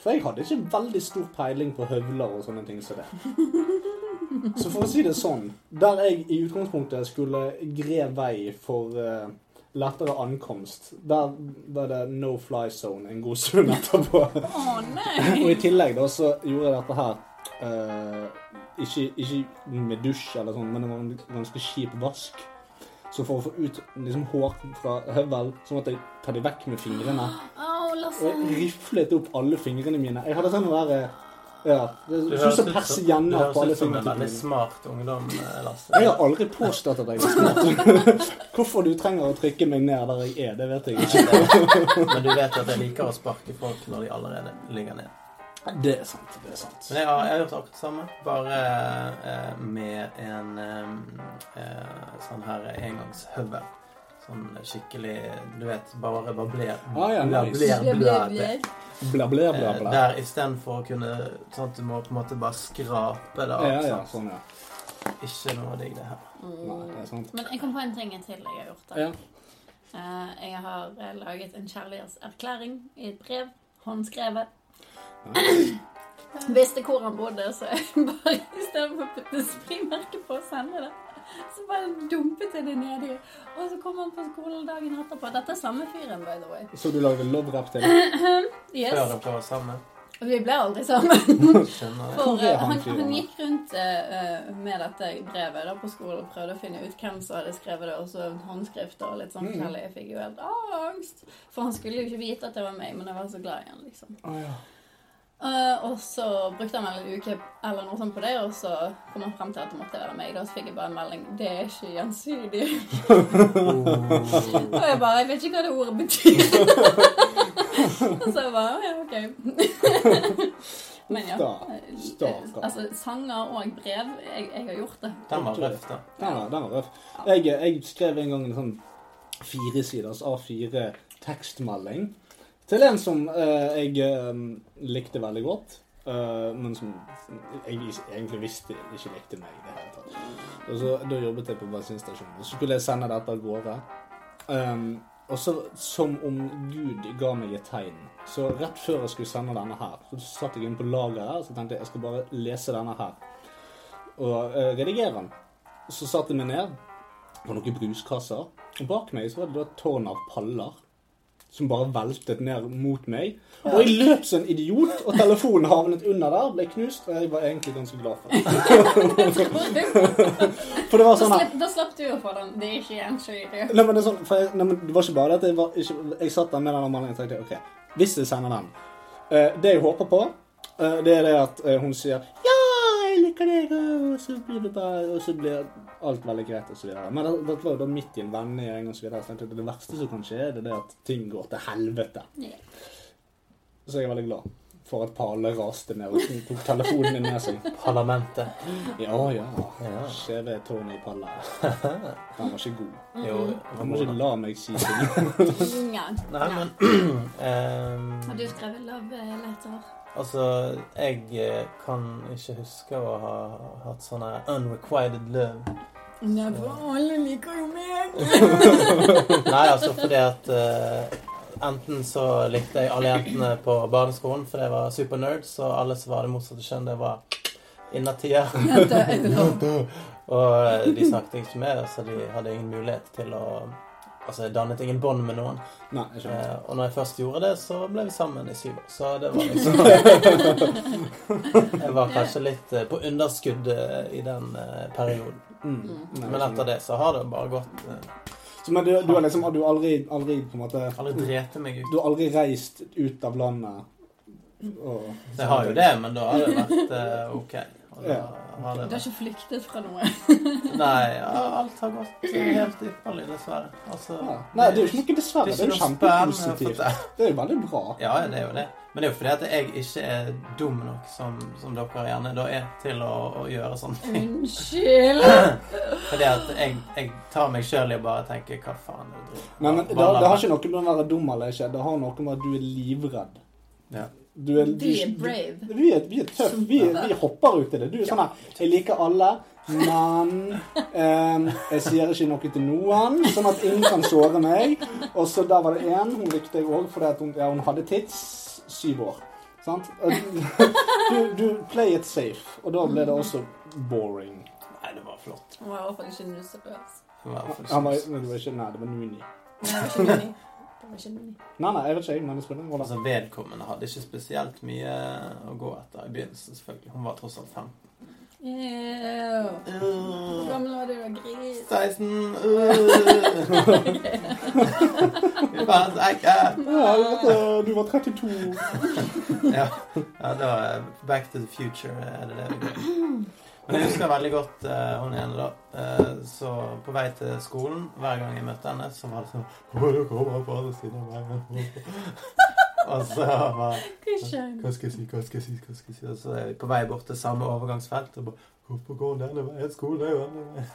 B: For jeg hadde ikke veldig stor peiling på høvler og sånne ting som det. Så for å si det sånn, der jeg i utgangspunktet skulle gre vei for eh, lettere ankomst, der var det no fly zone en god stund etterpå.
A: Å
B: Og
A: nei!
B: i tillegg da, så gjorde jeg dette her eh, ikke, ikke med dusj eller sånn, men det var en ganske kjip vask. Så for å få ut liksom, hår fra høvel, så måtte jeg ta de vekk med fingrene.
A: Åh,
B: og
A: Larsen.
B: riflet opp alle fingrene mine. Jeg hadde sånn å være Ja. Det sånn
C: Du høres
B: som
C: ut som- du
B: persienner på alle
C: høres ut som en
B: fingrene
C: veldig
B: mine.
C: smart ungdom, eh, Lasse.
B: Jeg har aldri påstått at jeg er smart. Hvorfor du trenger å trykke meg ned der jeg er, det vet jeg ikke.
C: Men du vet at jeg liker å sparke folk når de allerede ligger ned.
B: Det er sant. det er sant.
C: Men jeg har, jeg har gjort akkurat det samme, bare eh, med en eh, eh, sånn her engangshøvel. Sånn skikkelig Du vet, bare babler
B: Ah, ja, nice.
C: babler-
A: Det ble
C: blad-
A: ble.
B: Bla, bla, bla,
C: Eh,
B: bla.
C: Der istedenfor å kunne sånn at Du må på en måte bare skrape det av.
B: Ja, ja,
C: sant?
B: sånn, ja.
C: Ikke noe digg, det her.
B: Nei, det er sant.
A: Mm. Men jeg kom på en ting til jeg har gjort. da.
B: Ja.
A: Eh, Jeg har eh, laget en kjærlighetserklæring i et brev. Håndskrevet. Visste hvor han bodde, så jeg bare istedenfor å putte frimerke på og sende det, så bare dumpet jeg det nedi. Og så kom han på skolen dagen etterpå. Dette er samme fyren, by the way.
B: Så du lagde love rap til?
C: Før
A: Yes.
C: dere var sammen.
A: Vi ble aldri sammen.
C: Skjønner det.
A: For
B: Hvor er
A: eh,
B: han
A: han,
B: fyren?
A: han gikk rundt eh, eh, med dette brevet da, på skolen og prøvde å finne ut hvem som hadde skrevet det, og så håndskrifter og litt sånn
B: Mm.
A: forskjellig. Jeg fikk jo helt angst. For han skulle jo ikke vite at det var meg, men jeg var så glad i han, liksom.
B: Å, ja.
A: Eh, og så brukte han vel en uke eller noe sånt på det, og så kom han frem til at det måtte være meg. Da så fikk jeg bare en melding 'Det er ikke gjensidig'. Og jeg bare 'Jeg vet ikke hva det ordet betyr'. og så jeg bare «Å, ja, OK. Men ja.
B: Da, stakkar.
A: Altså, sanger og brev. Jeg, jeg har gjort det.
C: Den var røff, da.
B: Den var, den var røff. Jeg, jeg skrev en gang en sånn firesiders A4-tekstmelding til en som eh, jeg eh, likte veldig godt, eh, men som jeg is- egentlig visste ikke likte meg i det hele tatt. Og så, da jobbet jeg på bensinstasjonen, og så skulle jeg sende dette av gårde. Um, og så som om Gud ga meg et tegn. Så rett før jeg skulle sende denne her, så satt jeg inn på lageret og så tenkte jeg, jeg skal bare lese denne her og eh, redigere den. Så satte jeg meg ned på noen bruskasser, og bak meg så var det da et tårn av paller. Som bare veltet ned mot meg. Og jeg løp som en idiot, og telefonen havnet under der, ble knust, og jeg var egentlig ganske glad for det. For det
A: da,
B: var sånn her
A: slapp, da slapp du å få den. Det er ikke gjensidig.
B: Nei, men det, er sånn, for jeg, nei, men det var ikke bare det at jeg, var, ikke, jeg satt der med den meldingen og tenkte OK, hvis jeg sender den eh, Det jeg håper på, eh, det er det at eh, hun sier Ja, jeg liker deg, og så blir det bare Og så blir alt veldig greit, og så videre. Men det, det var jo da midt i en vennegjeng, og så videre. Så tenkte jeg, det verste som kan skje, det er det at ting går til helvete.
A: Ja.
B: Så jeg er veldig glad for at Pale raste ned og tok telefonen min med seg.
C: Parlamentet.
B: Ja, ja.
C: Ja.
B: Skjeve tårn i Palle. Han var ikke god.
C: Jo,
B: Han må ikke la meg si ting.
A: Nei.
C: Nei, men
A: Har
C: ehm,
A: du skrevet love-letter?
C: Altså, jeg eh, kan ikke huske å ha hatt sånn her unrequited love.
A: Nei, for alle liker jo meg.
C: Nei, altså fordi at eh, Enten så likte jeg alle jentene på barneskolen, for det var supernerds, og alle som var det motsatte kjønn, det var innertier.
A: Jenter er love.
C: Og eh, de snakket jeg ikke med, så de hadde ingen mulighet til å Altså, jeg dannet ingen bånd med noen.
B: Nei, jeg skjønner.
C: Eh, og når jeg først gjorde det, så ble vi sammen i syv år. Så det var liksom Jeg var kanskje litt eh, på underskudd eh, i den eh, perioden.
B: Mm. Nei,
C: Men etter det så har det bare gått. eh,
B: Så, men du, du har liksom har du aldri, aldri på en måte
C: Alle drepte meg ut.
B: Du har aldri reist ut av landet? Og,
C: Jeg har jo det, men da har det vært eh, OK. Og da har
A: Du har
C: det vært.
A: ikke flyktet fra noe.
C: Nei, ja, alt har gått eh, helt ypperlig, dessverre. Altså,
B: Ja. Nei, det er jo ikke noe dessverre. Det er jo
C: noe spennende
B: kjempepositivt.
C: fortell-
B: Det er jo veldig bra.
C: Ja, det er jo det. Men det er jo fordi at jeg ikke er dum nok, som, som dere gjerne da er, til å, å gjøre sånne ting.
A: Unnskyld.
C: Fordi at jeg, jeg tar meg sjøl i å bare tenke hva faen er det du driver med?
B: Men, men det, det har ikke noe med å være dum eller ikke. Det har noe med at du er livredd.
C: Ja.
B: Du er, du,
A: Vi er brave.
B: Vi er, vi er tøff. Vi, vi hopper ut i det. Du er sånn her Jeg liker alle, men ehm, jeg sier ikke noe til noen, sånn at ingen kan såre meg. Og så der var det én. Hun likte jeg òg fordi at hun, ja, hun hadde tids. Syv år. Sant? Og Du, du play it safe. Og da ble det også boring.
C: Nei, det var flott.
A: Hun var i hvert fall ikke nussepøs.
C: Det var flott.
B: Han var, men det var ikke, nei, det var Nuni.
A: Men jeg var ikke menig. Det var ikke menig.
B: Nei, nei, jeg vet ikke. jeg, Men det spiller ingen rolle.
C: Altså, vedkommende hadde ikke spesielt mye å gå etter i begynnelsen, selvfølgelig. Hun var tross alt fem.
A: Ew. Hvor
C: uh.
A: gammel var du da, gris?
C: 16 øh. var sikker.
B: Ja, dette- du var 32.
C: Ja, ja da eh, Back to the future eh, er det det vi gjør. Men jeg husker veldig godt eh, hun ene, da. Eh, så på vei til skolen, hver gang jeg møtte henne, så var det sånn «Å, jeg kommer på andre siden av veien. Og så var Hva skal jeg si, hva skal jeg si, hva skal jeg si? Og så er vi på vei bort til samme overgangsfelt og bare Hvorfor går han denne veien? Skolen er jo denne veien.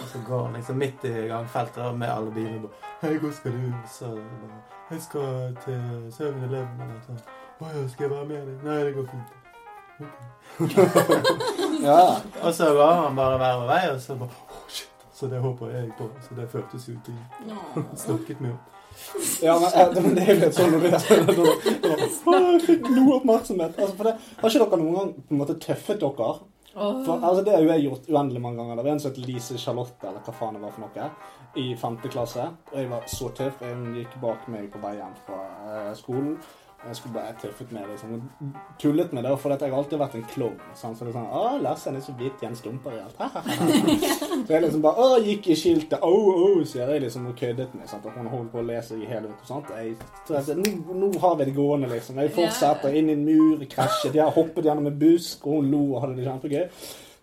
C: Og så går han liksom midt i gangfeltet da, med alle bilene og bare Hei, hvor skal du? Så bare, Jeg skal til 7-Eleven eller noe sånt. Å ja, skal jeg være med deg? Nei, det går fint.
B: Ja.
C: Og så går han bare hver vår vei, og så bare Å, shit. Så det håper jeg på. Så det føltes ut i Stokket meg opp.
B: Ja, men, eh, men det er jo litt sånn når du er sånn at du- du bare, «Å, Jeg fikk noe oppmerksomhet. Altså, for det, har ikke dere noen gang på en måte tøffet dere? For, altså, det har jo jeg gjort uendelig mange ganger. Det var en som het Lise Charlotte, eller hva faen det var for noe, i femte klasse. Og jeg var så tøff. og Hun gikk bak meg på vei hjem fra eh, skolen. Og Jeg skulle bare jeg tøffet med det. Liksom. Tullet med det. For jeg har alltid vært en klovn. sant? Så det er sånn Å, Lasse han er så hvit, Jens dumper i alt. så jeg liksom bare Å, gikk i skiltet. Au, au, sier jeg liksom og køddet med. Sant? Og hun holdt på å lese i hele uka. sant? Og Jeg, så jeg, sier, nå, nå har vi det gående, liksom. Jeg fortsetter inn i en mur, krasjet, jeg har hoppet gjennom en busk, og hun lo og hadde det kjempegøy.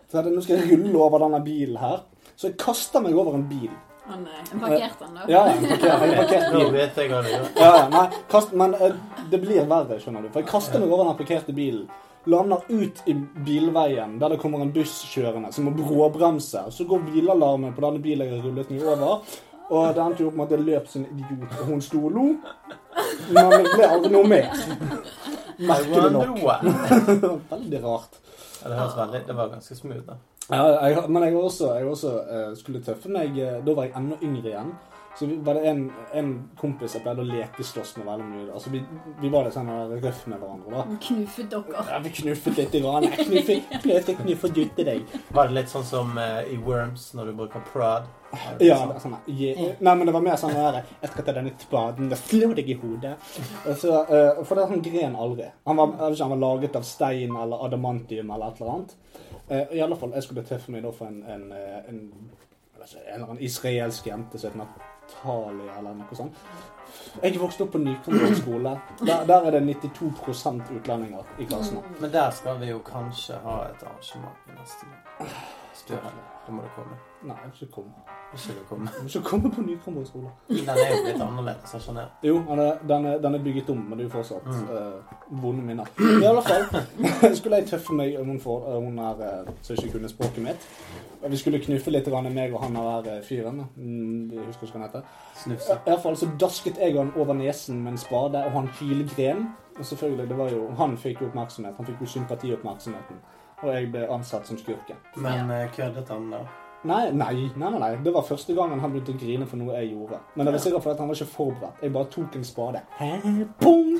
B: Så jeg, nå skal jeg rulle over denne bilen her. Så jeg kaster meg over en bil.
A: Å nei. En parkerte han, da?
B: Ja, en parkert, en parkert
C: Nå
B: bil.
C: vet jeg hva det gjør.
B: Ja, ja, nei, kast, men eh, det blir verre, skjønner du. For jeg kaster meg over den parkerte bilen. Lander ut i bilveien, der det kommer en buss kjørende som må bråbremse. Så går bilalarmen på denne bilen jeg har rullet meg over. Og det endte jo opp med at jeg løp som en idiot, og hun sto og lo. Men det ble aldri noe mer. Merkelig nok.
C: Wonderwall.
B: Veldig rart.
C: Ja, det høres veldig Det var ganske smooth, da.
B: Ja, jeg, men jeg var også, jeg var også eh, skulle tøffe meg eh, Da var jeg enda yngre igjen. Så vi- var det en, en kompis jeg pleide å lekeslåss med veldig mye. Altså, vi, vi var litt sånn eh, røff med hverandre. da.
A: Han knuffet dere.
B: Ja, vi knuffet litt. i rann. Jeg knuffet, knuffet, knuffet dytte deg.
C: Var det litt sånn som eh, i Worms, når du bruker prod? Er det
B: Ja,
C: sånn?
B: det er sånn, eh, je, nei, men det var mer sånn der, eh, Jeg skal ta denne spaden og slå deg i hodet. Og så, eh, for det er sånn gren aldri. Han var, jeg vet ikke, han var laget av stein eller adamantium eller et eller annet. Eh, I alle fall, jeg skulle tøffe meg da for en, en, eh, en, jeg vet ikke, en eller annen israelsk jente som heter Natalie eller noe sånt. Jeg vokste opp på Nykontroll skole. Der, der er det 92 utlendinger i klassen.
C: Men der skal vi jo kanskje ha et arrangement i neste gang. Større. Da må du komme.
B: Nei, jeg vil ikke komme.
C: Ikke du komme.
B: Jeg vil ikke komme på Nykontroll skole.
C: Den er jo litt annerledes, altså, har jeg skjønner.
B: Jo, den er, den er, den er bygget om, men det er jo fortsatt
C: Mm.
B: eh, vonde minner. I alle fall skulle jeg tøffe meg om hun, for, om hun er, eh, som ikke kunne språket mitt. Og Vi skulle knuffe litt, grann, meg og han der eh, fyren. Mm, jeg husker ikke hva han heter. I
C: Snufse.
B: hvert fall så dasket jeg han over nesen med en spade, og han hylgren. Og selvfølgelig, det var jo, han fikk jo oppmerksomhet. Han fikk jo sympatioppmerksomheten. Og jeg ble ansatt som skurken.
C: Men eh, køddet han da?
B: Nei, nei, nei, nei, nei. Det var første gangen han begynte å grine for noe jeg gjorde. Men det var sikkert fordi at han var ikke forberedt. Jeg bare tok en spade. Hæ? Boom!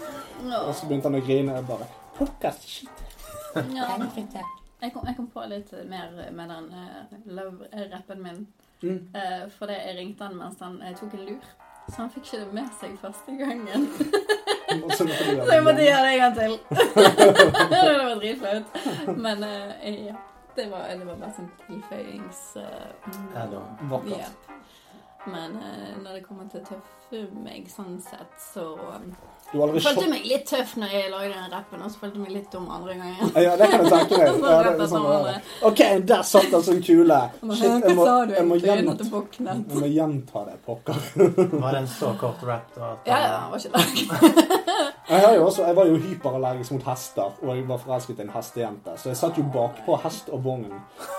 B: Og så begynte han å grine. og Jeg bare Pokkers shit.
A: Ja. Jeg, kom, jeg kom på litt mer med den eh, love-rappen min.
B: Mm.
A: Eh, fordi jeg ringte han mens han eh, tok en lur. Så han fikk ikke det med seg første gangen.
B: Og så måtte du
A: Så jeg
B: gjøre
A: måtte
B: det.
A: gjøre det en gang til. det var dritflaut. Men eh, ja. Det var, det var bare sånn tilføyings... eh,
C: Eller
A: Ja.
B: Vakkert.
A: Men eh, når det kommer til tøffe meg sånn sett, så um,
B: Du har aldri
A: Følte
B: sjokk...
A: jeg meg litt tøff når jeg lagde den rappen, og så følte jeg meg litt dum andre gangen.
B: Ja, det kan jeg tenke meg.
A: Sånn
B: Ja, det
A: rett
B: er
A: etter
B: sånn det
A: hverandre.
B: er. OK, der satt den som kule.
A: Og bare,
B: Shit,
A: Hva
B: jeg må,
A: sa du
B: jeg må,
A: egentlig
B: gjenta,
A: når du våknet?
B: jeg må gjenta det. Pokker.
C: Var det en så kort rap da? at
A: Ja, ja,
C: han-
A: det var ikke lang.
B: Jeg, har jo også, jeg var jo hyperallergisk mot hester, og jeg var forelsket i en hestejente. Så jeg satt jo bakpå hest og vogn.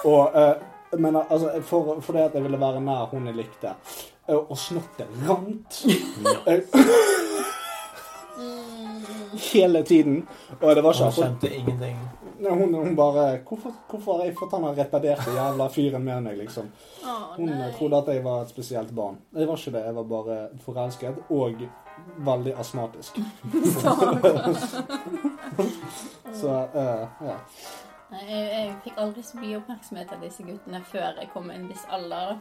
B: Og, eh, men altså, for, for det at jeg ville være nær hun jeg likte. Eh, og snottet rant eh,
A: Mm.
B: hele tiden. Og det var ikke
C: Han
B: akkurat
C: skjønte ingenting.
B: Nei, hun, hun bare hvorfor, 'Hvorfor har jeg fått han retarderte jævla fyren med meg?' liksom.
A: Å,
B: Hun eh, trodde at jeg var et spesielt barn. Jeg var ikke det. Jeg var bare forelsket og veldig astmatisk. Så eh, ja.
A: Nei, Jeg, jeg fikk aldri så mye oppmerksomhet av disse guttene før jeg kom en viss alder. da.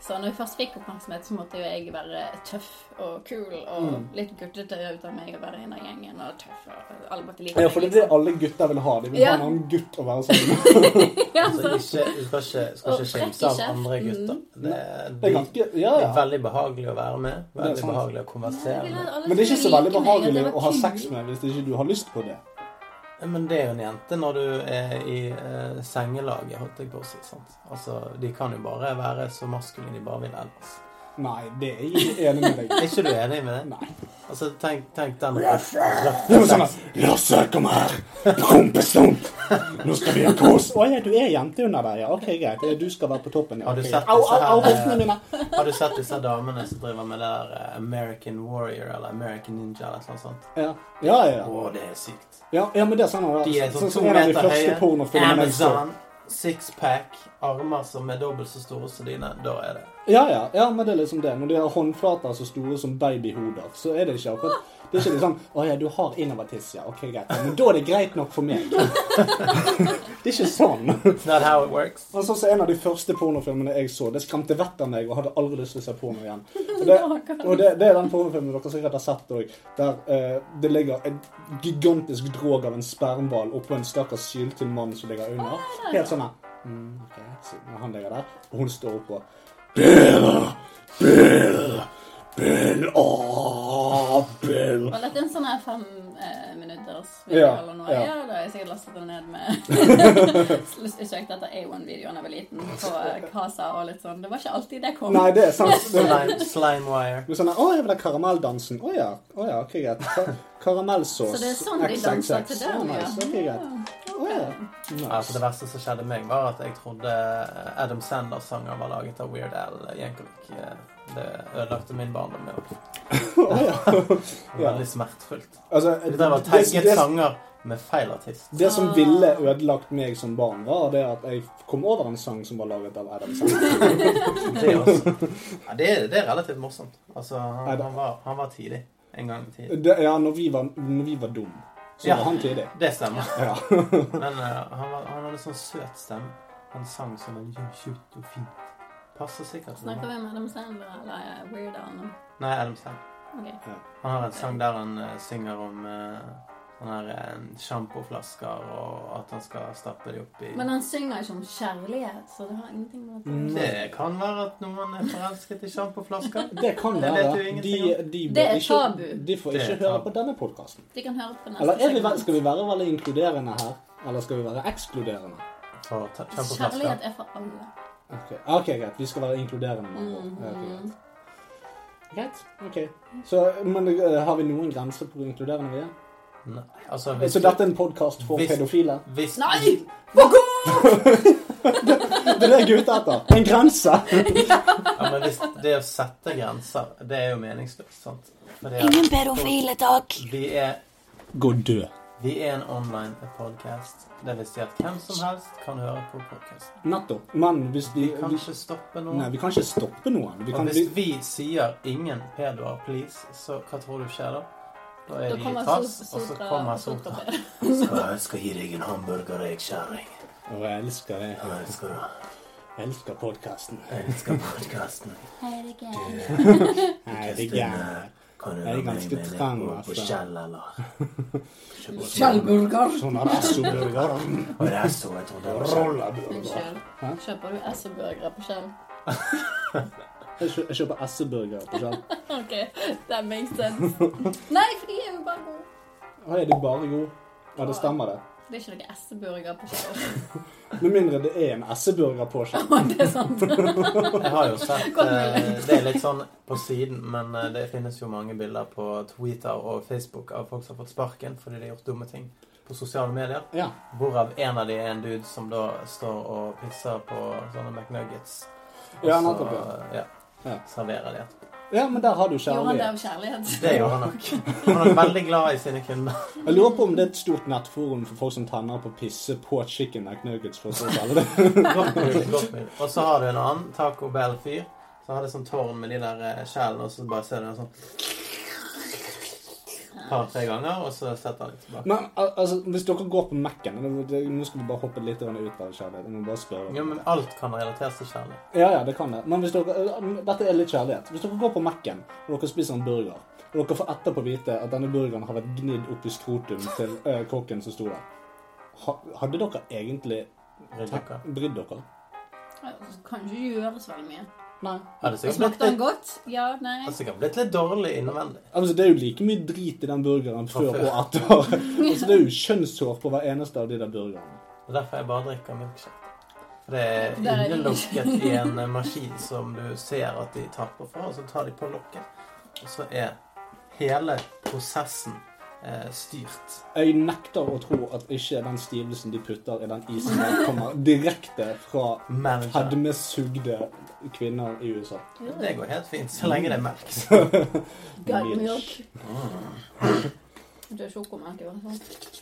A: Så når jeg først fikk oppmerksomhet, så måtte jo jeg være tøff og cool og
B: Mm.
A: litt guttete ut av meg å være en av gjengen og tøff. og Alle måtte like
B: Ja, for det er det alle gutter vil ha. De vil
A: Ja.
B: ha en annen gutt å være sammen med.
A: liksom. Ja,
C: Altså,
A: sant.
C: ikke, du skal ikke, skal
A: Og
C: ikke skimse av
A: trekk i
C: andre gutter.
A: kjeften.
C: Det,
B: Det er
C: de,
B: ganske, ja,
C: de er
B: ja.
C: veldig behagelig å være med.
B: er
C: Veldig
B: sant.
C: behagelig å
A: Jeg
C: konversere
A: ville
C: med.
A: at alle
B: Men det er ikke så
A: skulle
B: veldig
A: like meg, at jeg
B: behagelig
A: var
B: å ha
A: kul.
B: sex med hvis ikke du har lyst på det.
C: Men det er jo en jente når du er i eh, sengelaget, holdt jeg på å si. Sant? Altså, de kan jo bare være så maskuline de bare vil ellers.
B: Nei, det er jeg ikke enig med
C: Er
B: deg i.
C: ikke du enig med det?
B: Nei.
C: Altså, tenk, tenk den
B: Det var sånn at, Lasse, kom her! Prompestump! Nå skal vi ha kos! Å ja, du er jente under deg, ja. Ok, greit. Du skal være på toppen. Ja.
C: Har du
B: ok.
C: sett
B: Au, au,
C: disse
B: au,
C: her, eh,
B: hoftene mine!
C: Har du sett disse damene som driver med det der eh, American Warrior eller American Ninja eller noe sånt?
B: Ja, ja, ja.
C: Å, det er sykt.
B: ja, ja men det er sånn at,
C: De er sånn
B: sånn
C: to
B: som en av de
C: meter
B: første
C: høye.
B: pornofilmene jeg så.
C: Amazon, sixpack, armer som er dobbelt så store som dine. Da er det
B: Ja, ja, ja, men det er liksom det. Når de har håndflater så store som babyhoder, så er det ikke akkurat Det er ikke liksom Å ja, du har innover tiss, ja. Ok, greit. Men da er det greit nok for meg. det er ikke sånn.
C: It's not how it works.
B: Og så så en av de første pornofilmene jeg så, det skremte vettet av meg og hadde aldri lyst til å se porno igjen. Og det, og det, det er den pornofilmen dere sikkert har sett òg, der eh, det ligger en gigantisk drog av en spermhval oppå en stakkars syltynn mann som ligger under. Helt sånn her. Mm, ok, så når han ligger der, og hun står oppå. Bill! Bill! Bill! Åh, Bill!
A: Var dette en sånn her fem eh, minutters video
B: Ja,
A: eller noe?
B: ja.
A: Ja. da har jeg sikkert lastet den ned med Søkte etter A1-videoen da jeg var liten, på eh, Casa og litt sånn. Det var ikke alltid det kom.
B: Nei, det er sant. Det er
C: Slime, slime wire.
B: Men sånn, Å, jeg vil ha karamelldansen. Å ja. Å, ja. Ok, greit. Ka- Karamellsås.
A: Så det er sånn de
B: XXX.
A: danser til
B: Å,
A: den, ja.
B: nice. Ok, greit. Å ja.
C: Altså, det
B: Nice.
C: verste som skjedde meg, var at jeg trodde eh, Adam Sanders-sanger var laget av Weird Al Yankovic. Eh, Det ødelagte min barndom. med også.
B: Å, ja.
C: Det var
B: Ja.
C: Veldig smertefullt.
B: Altså,
C: Det
B: det,
C: der var
B: det,
C: tagget
B: det,
C: sanger med feil artist.
B: det som ville ødelagt meg som barn, var det at jeg kom over en sang som var laget av Adam Sandler.
C: Det, også. Ja, det, er- det er relativt morsomt. Altså,
B: Nei,
C: han,
B: det-
C: han, var, han var tidlig. En gang tidlig.
B: Det, ja, når vi var, når vi var dum, så
C: Ja.
B: var han tidlig.
C: Det stemmer.
B: Ja.
C: Men eh, han, var, han hadde sånn søt stemme. Han sang som en tjukt og fint. Passer sikkert. til
A: Snakker
C: meg.
A: vi med Adam Sandler eller eh, Weird Al nå?
C: Nei, Adam Sand.
A: Ok.
C: Han har en sang der han eh, synger om uh, sånne her eh, sjampoflasker, og at han skal stappe de opp i
A: Men han synger ikke om kjærlighet, så det har ingenting med det å gjøre.
C: Det kan være at noen er forelsket i sjampoflasker.
B: Det kan
C: Det vet
B: være.
C: du
B: De,
C: ingenting
B: de,
A: Det
B: bør
A: er
B: ikke,
A: tabu.
B: de får
C: Det er
B: ikke høre
C: tabu.
B: på denne podkasten.
A: De kan høre på
B: Eller
A: neste
B: er vi, ve- skal vi være veldig inkluderende her? Eller skal vi være ekskluderende?
C: For ta- sjampoflasker.
A: Kjærlighet er for alle. Mm.
B: Ok, ah, ok, greit. Vi skal være inkluderende. med andre ord. Mm. Ja, ok,
A: Mm-hmm.
B: greit. Greit. ok. Så, men eh, har vi noen grenser på hvor inkluderende vi er?
C: Nei, altså,
B: Så
C: hvis,
B: dette er en podkast for
C: Hvis-
B: pedofile?
C: hvis,
A: Nei!
B: Det er det jeg er ute etter. En grense!
C: Ja, men hvis det å sette grenser, det er jo meningsløst, sant? Fordi at
D: Ingen pedofile, takk.
C: vi er
B: Gå dø.
C: Vi er en online podcast. Det vil si at hvem som helst kan høre på podcasten.
B: Nettopp. Men hvis vi,
C: Vi kan
B: vi
C: ikke stoppe noen.
B: Nei, vi kan ikke stoppe noen. Vi
C: Og
B: kan,
C: hvis
B: vi,
C: vi sier 'ingen pedoer, please', så hva tror du skjer da? Da er
A: Da
C: de i
A: kommer
C: trass, og så
A: Sotra-
C: kommer
A: Sotra
C: Sotra.
A: Per.
C: Skal, jeg skal gi deg en hamburger, jeg, kjerring.
B: Å, jeg elsker det.
C: Jeg elsker det.
B: Jeg elsker podkasten.
C: Jeg elsker podkasten.
A: Herregud.
B: Herregud.
C: Kan du
B: Jeg er være med ganske meg litt trang, på- på altså. Kjell,
C: eller?
A: Kjellburger.
B: Sånn er det. Så blir det bra.
C: Og det er så jeg trodde
B: Rollaburger.
A: Unnskyld.
B: Hæ?
A: Kjøper du Esseburgere på Kjell?
B: Jeg kjø- jeg kjøper SE-burger på Kjell.
A: Ok, that makes sense. Nei, for de er jo bare gode.
B: Å, er de bare gode? Ja, det stemmer, det.
A: Det er ikke noe esseburger på kjøkkenet.
B: Med mindre det er en SE-burger på Kjell.
A: det er sant.
C: Jeg har jo sett
A: Godt
C: eh,
A: mulig.
C: Det er litt sånn på siden, men eh, det finnes jo mange bilder på Twitter og Facebook av folk som har fått sparken fordi de har gjort dumme ting på sosiale medier.
B: Ja.
C: Hvorav en av de er en dude som da står og pisser på sånne McNuggets. Og
B: Ja,
C: så
B: nettopp, ja.
C: eh, ja,
B: Ja.
C: serverer de etterpå.
B: ja, men der har du
A: Gjorde han det
B: kjærlighet.
A: av kjærlighet?
C: Det gjør han nok. Han er veldig glad i sine kunder.
B: Jeg lurer på om det er et stort nettforum for folk som tenner på å pisse på chicken McNuggets. for å kalle det. sånn.
C: Godt mulig, godt mulig. Og så har du en annen Taco Bell-fyr som har det sånn tårn med de der eh, skjellene, og så bare ser du en sånn par-tre ganger, og så setter han litt tilbake.
B: Men al altså, hvis dere går på Mac-en det- det- Nå skal vi bare hoppe litt grann ut av kjærlighet. Jeg må bare spørre.
C: Ja, men alt kan relateres til kjærlighet.
B: Ja, ja, det kan det. Men hvis dere, dette er litt kjærlighet. Hvis dere går på Mac-en og dere spiser en burger, og dere får etterpå vite at denne burgeren har vært gnidd opp i skrotum til eh, kokken som sto der, ha, hadde dere egentlig
C: Bryr dere?
B: brydd dere?
A: Det kan ikke gjøres veldig mye.
B: Nei.
C: Hadde sikkert blitt
A: Smakte den
C: litt,
A: godt? Ja? Nei?
C: hadde sikkert blitt litt dårlig innvendig.
B: Altså, Det er jo like mye drit i den burgeren
C: Fra
B: før
C: før.
B: og etter. altså, det er jo kjønnshår på hver eneste av de der burgerne.
C: Det er derfor jeg bare drikker milkshake. For det er
A: Der er det
C: innelukket i en eh, maskin som du ser at de tapper fra, og så tar de på lokket. Og så er hele prosessen eh, styrt.
B: Jeg nekter å tro at ikke den stivelsen de putter i den isen, der kommer direkte fra
C: Manager.
B: fedmesugde kvinner i USA.
C: Det går helt fint, så lenge det er melk.
A: God
B: Milk.
A: milk. Det er Ah. sjokomelk i hvert fall.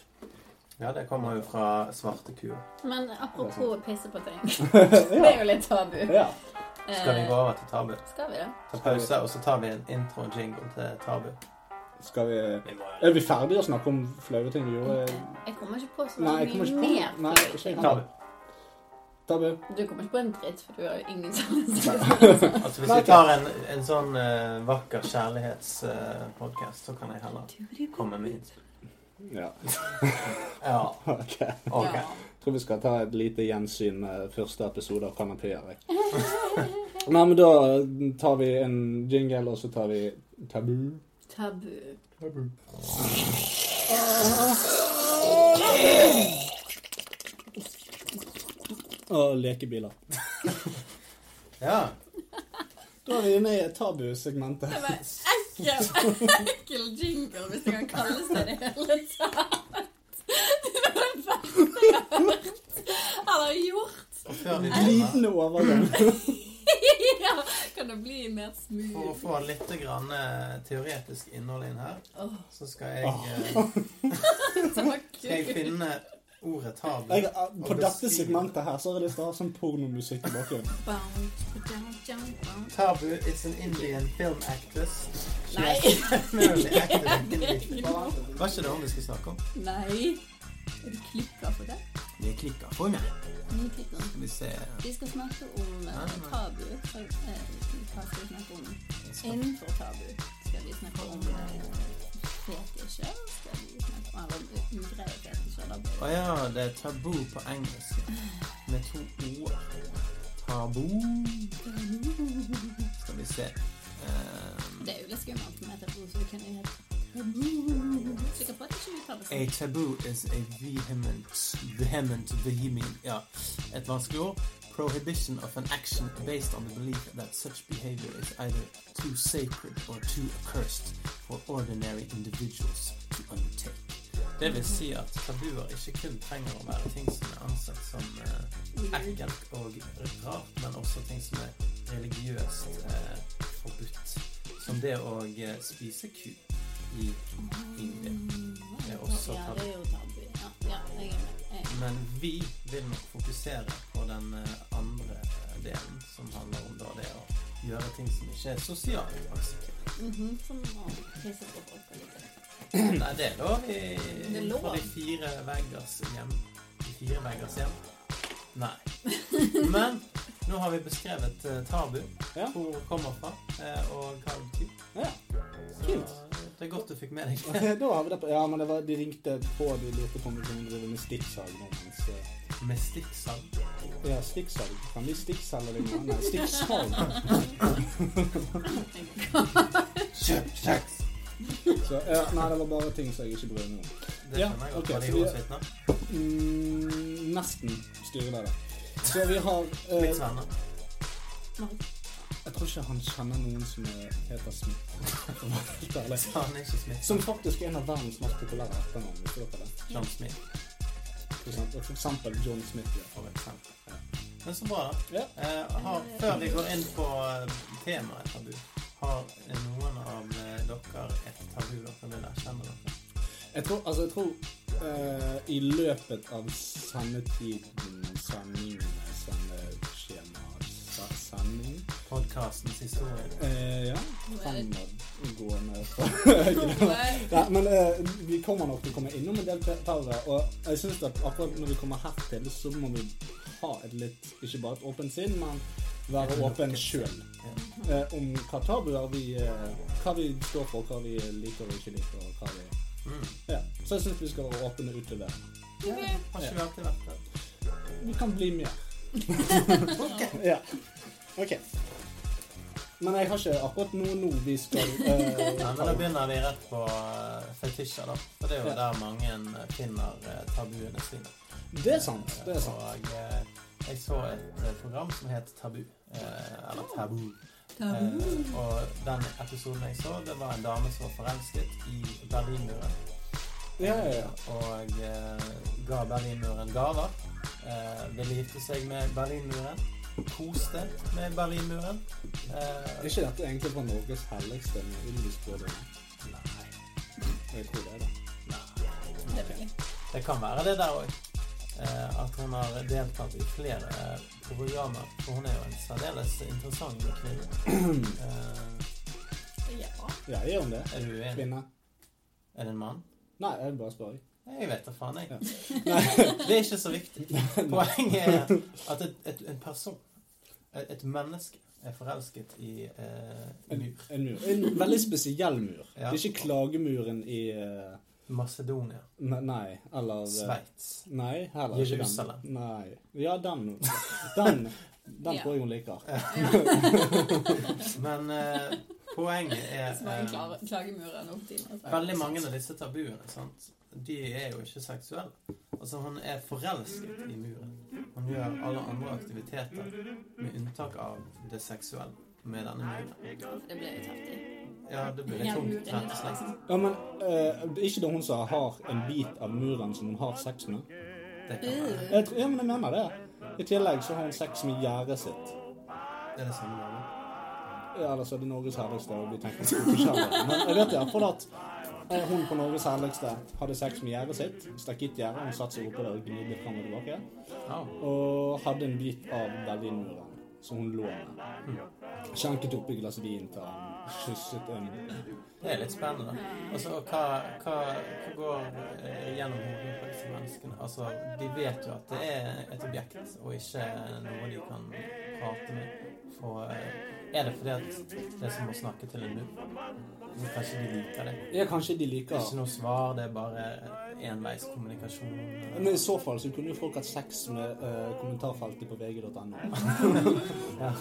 C: Ja, det kommer jo fra svarte kuer.
A: Men apropos å pisse på ting. Det
B: ja.
A: er jo litt tabu.
B: ja.
C: Skal vi gå over til tabu?
A: Eh, Skal vi det?
C: Ta pause, og så tar vi en intro-jingle til tabu.
B: Skal vi
C: Vi må
B: Er vi ferdige å snakke om flaue ting vi gjorde?
A: Jeg kommer ikke på så
B: Nei, jeg
A: mye
B: kommer ikke
A: mer.
B: på Nei,
A: flaue
B: ikke
A: ting.
B: helt.
C: Tabu.
B: Tabu.
A: Du kommer ikke på en dritt, for du har jo ingen sanser.
C: Altså, hvis vi tar en, en sånn eh, vakker kjærlighetspodkast, så kan jeg heller komme med innspill.
B: Ja,
C: Ja,
B: ok.
C: ok.
A: Ja.
B: Tror vi skal ta et lite gjensyn med første episode av Kanapeer. jeg. Nei, men da tar vi en jingle, og så tar vi tabu.
A: Tabu.
B: Og lekebiler.
C: Ja.
B: Da er vi inne i tabusegmentet.
A: Det var ekkel, ekkel jingle, hvis det kan kalles det sånn i det hele tatt. Det var det verste jeg har hørt. Eller gjort.
C: Og før vi begynner,
B: Glidende overgang.
A: Ja, kan det bli mer
C: for å
A: smooth?
C: få litt grann, eh, teoretisk innhold inn her,
A: Åh,
C: så skal jeg, eh,
A: så
C: skal jeg
A: kult.
C: finne ordet tabu.
B: Jeg, eh, på dette
C: Og beskrive-
B: segmentet her så har jeg lyst til å ha sånn pornomusikk i bakgrunnen.
C: Tabu is an Indian film actress. She
A: Nei.
C: has primarily acted in Hindi.
A: Nei.
C: Var ikke det hun vi skulle snakke om?
A: Nei. Er det klikka for det?
C: Vi klikker på meg.
A: Mye klikker.
C: Skal vi eh, se
A: Vi skal snakke om eh,
C: Nei, nei.
A: tabu. Eh, Hva skal vi snakke om?
C: Jeg skal-
A: Innenfor tabu skal vi snakke om eh, fetisjer. Skal vi snakke om eller eh, om ugreie fetisjer? Da blir
C: Å ja, det er tabu på engelsk. Med to ord. Tabu Skal vi se.
A: det-
C: Um,
A: det er jo litt skummelt med tabu, så vi kan jo helt Sikkert på at ikke vi tar det sånn.
C: a taboo is a vehement vehement vehement Ja, et vanskelig ord. Prohibition of an action based on the belief that such behavior is either too sacred or too accursed for ordinary individuals to undertake. Det vil si at tabuer ikke kun trenger å være ting som er ansett som eh,
A: Weird.
C: ekkelt og rart, men også ting som er religiøst eh, forbudt. Som det å eh, spise ku i India. Det er også
A: Ja,
C: tabu.
A: det er jo tabu. Ja, ja jeg er med. Jeg-
C: Men vi vil nok fokusere på den eh, andre eh, delen, som handler om da det å gjøre ting som ikke er sosialt akseptert.
A: mhm, Som å pisse på folk og litt.
C: Nei, det er lov i
A: Det er lov.
C: for de fire veggers hjem. De fire veggers hjem? Nei. Men nå har vi beskrevet eh, tabu.
B: Ja.
C: hvor det kommer fra, eh, og hva det betyr.
B: Ja.
C: Så
B: Kult.
C: det er godt du fikk med deg.
B: Da har vi det på. Ja, men det var, de ringte på de lurte på om vi kunne drive med stikksag. nå, mens, eh,
C: Med stikksand.
B: Ja, stikksag. Kan vi stikkselge det nå? Nei, stikksalg.
C: Kjøp kjeks!
B: Så, ja, nei, det var bare ting som jeg ikke brydde meg om.
C: Det
B: Ja,
C: skjønner
B: ok,
C: jeg godt. Var
B: så
C: det
B: vi-
C: Jehovas vitner?
B: Mm, nesten styreleder. Så vi har eh,
C: Mitt venner.
B: Jeg tror ikke han kjenner noen som er- heter Smith. for å være helt ærlig.
C: Sa han ikke Smith?
B: Som faktisk er en av verdens mest populære etternavn. visste dere det?
C: John Smith,
B: For eksempel- For eksempel John Smith. Ja.
C: for eksempel. Men så bra, da.
B: Ja.
C: Eh, har, før vi går inn på eh, temaet tabu, har noen av eh, dere et tabu dere vil erkjenne dere?
B: Jeg tror, altså, jeg tror eh, i løpet av sendetiden, sendingene, sendeskjema, sa- sending
C: Podkastens historie.
B: eh, Ja,
A: Nå er det-
B: fremadgående Nei, men eh, vi kommer nok til å komme innom en del tallere, og jeg synes at akkurat når vi kommer her til, så må vi ha et litt, ikke bare et åpent sinn, men være åpen selv
C: Mm.
B: eh, om hva tabuer vi, eh, hva vi står for, hva vi liker og ikke liker, og hva vi...
C: Mm.
B: Ja, så jeg synes vi skal være åpne ut til det.
C: Har ikke vi alltid vært det?
B: Vi kan bli mer.
C: Ok.
B: Ja. Ok. Men jeg har ikke akkurat noe nå vi skal... eh,
C: Nei, men
B: ta
C: Da
B: opp.
C: begynner vi rett på eh, fetisjer, da. For det er jo
B: Ja.
C: der mange eh, finner eh, tabuene sine.
B: Det er sant, det er sant.
C: Og eh, jeg så et eh, program som het Tabu. eh, Eller Tabu. Eh,
B: Mm.
C: Og den episoden jeg så, det var en dame som var forelsket i Berlinmuren.
B: Ja, ja, ja.
C: Og eh, ga Berlinmuren gaver. Eh, ville gifte seg med Berlinmuren. Koste med Berlinmuren.
B: Er
C: Eh,
B: ikke dette egentlig fra Norges helligste med Ylvis-brødrene?
C: nei,
B: Jeg tror det er det.
C: nei. Det kan være det der òg. Eh, at hun har deltatt i flere eh, programmer. For hun er jo en særdeles interessant kvinne. Eh,
A: Ja.
B: Ja, jeg gjør om det.
C: er du uenig?
B: Kvinne.
C: Er det en mann?
B: Nei, jeg bare spør. jeg.
C: Jeg vet da faen, jeg.
B: Ja.
C: det er ikke så viktig. Poenget er at et, et, en person, et, et menneske, er forelsket i eh, en mur.
B: En mur. En veldig spesiell mur.
C: Ja.
B: Det er ikke klagemuren i eh,
C: Masedonia.
B: ne- Nei, eller eh,
C: Sveits.
B: Nei, heller ikke
C: Jerusalem.
B: den. Nei. Ja, den. Den, den
A: Ja.
B: tror jeg hun liker.
C: Men eh, poenget
A: Hvis man
C: er eh,
A: klarer klagemuren opp til altså.
C: Veldig mange av disse tabuene sant? De er jo ikke seksuelle. Altså Hun er forelsket i muren. Hun gjør alle andre aktiviteter med unntak av det seksuelle med denne muren.
A: Det blir litt heftig.
C: Ja, det blir
A: Ja,
C: litt
A: muren,
C: tungt. rett og
A: ja,
C: slett.
A: liksom.
B: Ja, men eh, det er ikke det hun som har en bit av muren som hun har sex med?
C: Det kan være.
B: Jeg tror, ja, men jeg mener det. I tillegg så har hun sex med gjerdet sitt.
C: Det er det samme navnet.
B: Ja, ellers er det Norges herligste, og vi tenker på forskjellig. Men jeg vet iallfall at eh, hun på Norges herligste hadde sex med gjerdet sitt. Stakk ut gjerdet, hun satte seg oppå det og gnidde fram og tilbake.
C: Au.
B: Og hadde en bit av Berlinmuren som hun lå med. Skjenket oppi et glass vin til han, kysset en
C: Det er litt spennende. Altså, og hva, hva, hva går eh, gjennom hodet på disse menneskene? Altså, De vet jo at det er et objekt, og ikke noe de kan prate med. For, eh, er det fordi at det er som å snakke til en mur? Så Kanskje de liker det?
B: Ja, kanskje de
C: Det er
B: liker
C: ikke noe svar, det er bare enveiskommunikasjon.
B: Men i så fall så kunne jo folk hatt sex med eh, kommentarfeltet på vg.no.
C: Ja.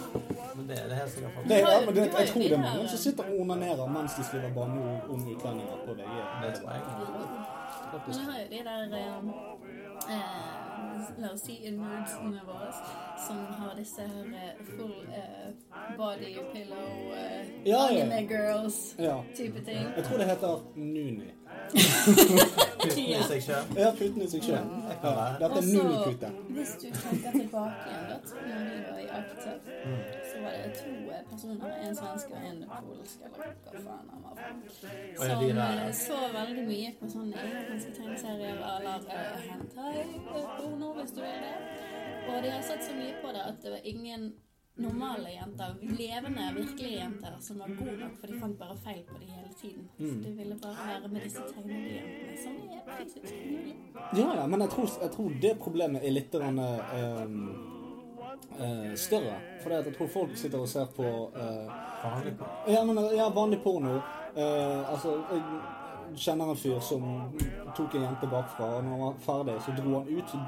C: Men det, det er helt sikkert folk.
B: Det, ja, men det, jeg tror det er mange som sitter og onanerer mens de skriver banneord om utlendinger på VG.
C: Det tror jeg.
A: Men jeg har jo de der eh, eh, La oss si nudesene våre som har disse her eh, full eh, body pillow eh,
B: Ja, ja.
A: anime girls-type
B: Ja.
A: ting.
B: Jeg tror det heter Nuni.
C: Uten i seg selv.
B: Ja, puten i seg sjøl.
C: Det kan
B: Ja,
C: være.
B: dette er
A: Altså-
B: Nuni-pute.
A: hvis du tenker tilbake igjen da, til når vi var i Akta,
C: Mm.
A: så var det to eh, personer, en svensk og en polsk, eller hva faen han var fra,
C: er
A: som
C: de der-
A: eh, så veldig mye på sånne japanske tegneserier eller eh, hentai-porno, hvis du vil det. Og de har sett så mye på det at det var ingen normale jenter, levende, virkelige jenter, som var gode nok, for de fant bare feil på de hele tiden.
C: Mm.
A: Så de ville bare være med disse tegnejentene som er fysisk mulig.
B: Ja, ja, men jeg tror, jeg tror det problemet er litt grann, eh, eh, større. For jeg tror folk sitter og ser på eh,
C: Vanlig på.
B: ja, men, ja, vanlig porno. Eh, altså, jeg kjenner en fyr som tok en jente bakfra, og når han var ferdig, så dro han ut. Så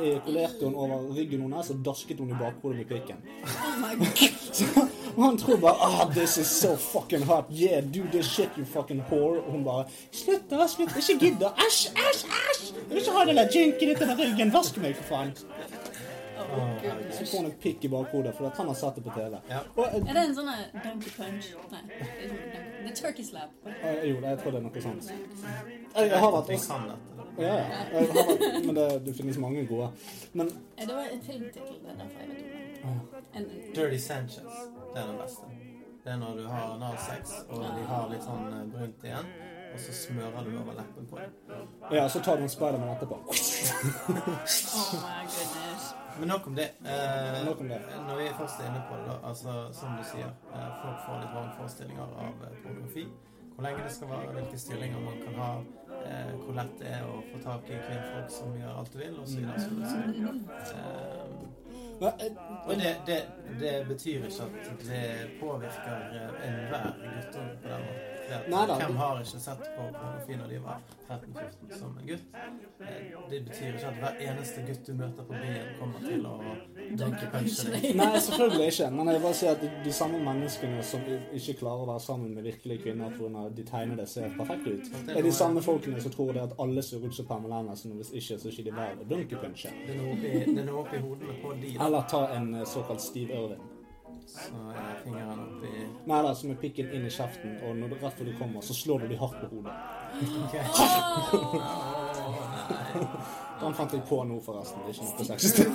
B: ejakulerte hun over ryggen hennes og dasket hun i bakhodet med pikken.
A: Oh my god!
B: Så han tror bare ah, this is so fucking hot. Yeah, do this shit, you fucking whore. Og hun bare Slutt, da. Slutt. Ikke gidd, da. Æsj, æsj, æsj. Jeg vil ikke ha det der jinken ditt under ryggen. Vask meg, for faen.
A: Oh, goodness.
B: Så får han et pikk i bakhodet fordi at han har sett det på TV.
C: Ja.
B: Og, eh,
A: Er det en sånn her donkey punch? Nei. det er ikke donkey punch. Det er turkey slap.
B: eh, jo, jeg tror det er noe sånt. Jeg, jeg har vært
C: Vi kan dette.
B: Ja, ja. Jeg har vært, men det, det finnes mange gode. Men
A: Eh, Det var en filmtittel. Det er derfor jeg vet om det. En,
C: Dirty Sanchez. Det er den beste. Det er når du har analsex, og de har litt sånn eh, brunt igjen, og så smører du over leppen på dem.
B: ja, så tar du en Spiderman etterpå.
A: oh my goodness.
C: Men nok om det. Eh,
B: Nok om det.
C: Når vi først er inne på det, da, altså som du sier, eh, folk får litt varme forestillinger av eh, pornografi. hvor lenge det skal vare, hvilke stillinger man kan ha, eh, hvor lett det er å få tak i kvinnfolk som gjør alt du vil, og så videre. så videre, så videre. Eh,
B: Hva- eh,
C: og det, det, det betyr ikke at det påvirker eh, enhver guttunge på den måten. Det at
B: Neida.
C: Hvem har ikke sett på pornofil når de var 13-14 som en gutt? Eh, Det betyr ikke at hver eneste gutt du møter på byen, kommer til å dunke punchen. i.
B: Nei, selvfølgelig ikke. Men jeg vil bare si at de- de samme menneskene som i- ikke klarer å være sammen med virkelige kvinner på grunn av at de tegner det ser perfekt ut, er de samme folkene som tror det at alle ser ut som Pamela Andersen, og hvis ikke, så er ikke de verdt å dunke punche.
C: Det er noe oppi- det er noe oppi hodene på de da,
B: Eller ta en eh, såkalt Steve Irwin.
C: så er fingeren oppi
B: Nei da, som er pikken inn i kjeften, og når du, rett før du kommer, så slår du de hardt på hodet.
C: Ok.
A: Åh!
B: Den fant jeg på nå, forresten. Det er ikke noe på sexistisk.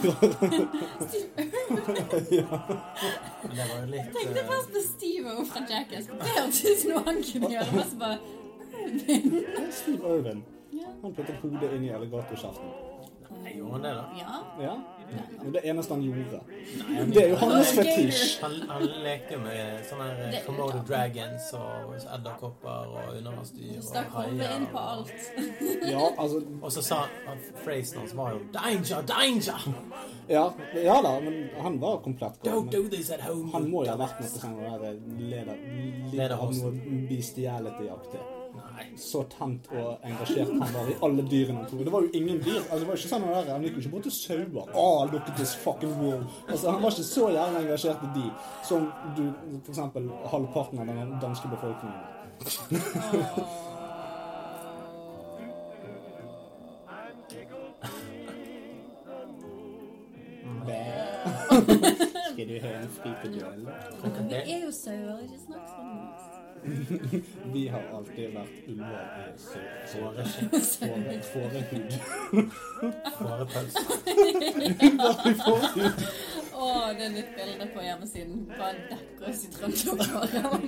C: Men det var jo litt
A: Tenk det
C: eh,
A: først på Steve og fra Jackass. Det hørtes noe han kunne gjøre. men så bare Irvin.
B: Steve Irwin.
A: Ja.
B: Han puttet hodet inn i alligatorkjeften.
C: Nei, Gjorde han det, da?
A: ja.
B: Ja. Det er det eneste han gjorde.
C: han
B: Det er jo
C: gjorde
B: hans
A: det.
B: fetisj.
C: Han, han leker med sånne her
A: Det er
C: Komodo
A: utdannet.
C: dragons og edderkopper og undervannsdyr
A: Du stakk
C: og
A: hodet inn på
C: haier.
A: alt.
B: Ja, altså
C: Og så sa han- han Phrasen hans var jo 'Danger! Danger!
B: Ja, ja da, men han var komplett gal.
C: Don't
B: Men
C: do this at home!'
B: han må jo ha vært noe sånn der leder...
C: Lederhosen.
B: Lederhosen. Bestiality-aktig.
C: Nei.
B: Så tent og engasjert han var i alle dyrene han tok. Det var jo ingen dyr. altså det var jo ikke sånn han der, Han gikk jo ikke bort til sauer. Ah, look at this fucking wall. Altså Han var ikke så jævlig engasjert i de som du, for eksempel halvparten av den danske befolkningen. Bæ. Skal du høre en fripeduell?
A: Vi er jo sauer, ikke snakk sånn.
B: Vi har alltid vært ulver i sau-
C: Fårekjøtt,
B: fåre- fårehud.
C: fårepølse.
A: Å, det er nytt bilde på hjemmesiden. Bare dekker oss i trønderhåret.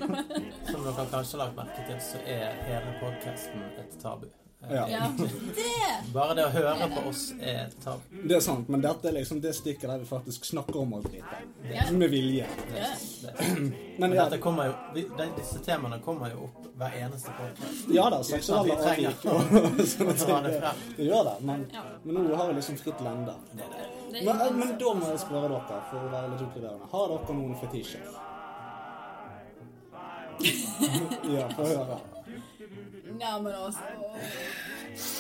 C: Som dere kanskje har lagt merke til, så er hele podkasten et tabu. Eh,
B: Ja.
A: Ja. Det!
C: Bare det å høre på oss er et tabu.
B: Det er sant, men dette er liksom det stikket der vi faktisk snakker om å drite.
A: Ja.
B: Med vilje.
C: Det,
A: Ja.
C: det.
B: Men
C: Men
B: ja,
C: dette kommer jo, vi, de- disse temaene kommer jo opp hver eneste podcast.
B: ja da,
C: Uten Sånn at
B: seksuelle
C: vi trenger
B: avvik
C: å
B: og
C: dra det frem.
B: Sånn Det gjør det, men,
A: Ja.
B: men nå har vi liksom fritt lende.
C: Det er det.
A: det
B: Men, eh,
A: er
B: men da må jeg spørre dere, for å være litt inkluderende. Har dere noen fetisjer? Ja, få høre.
A: Ja, men også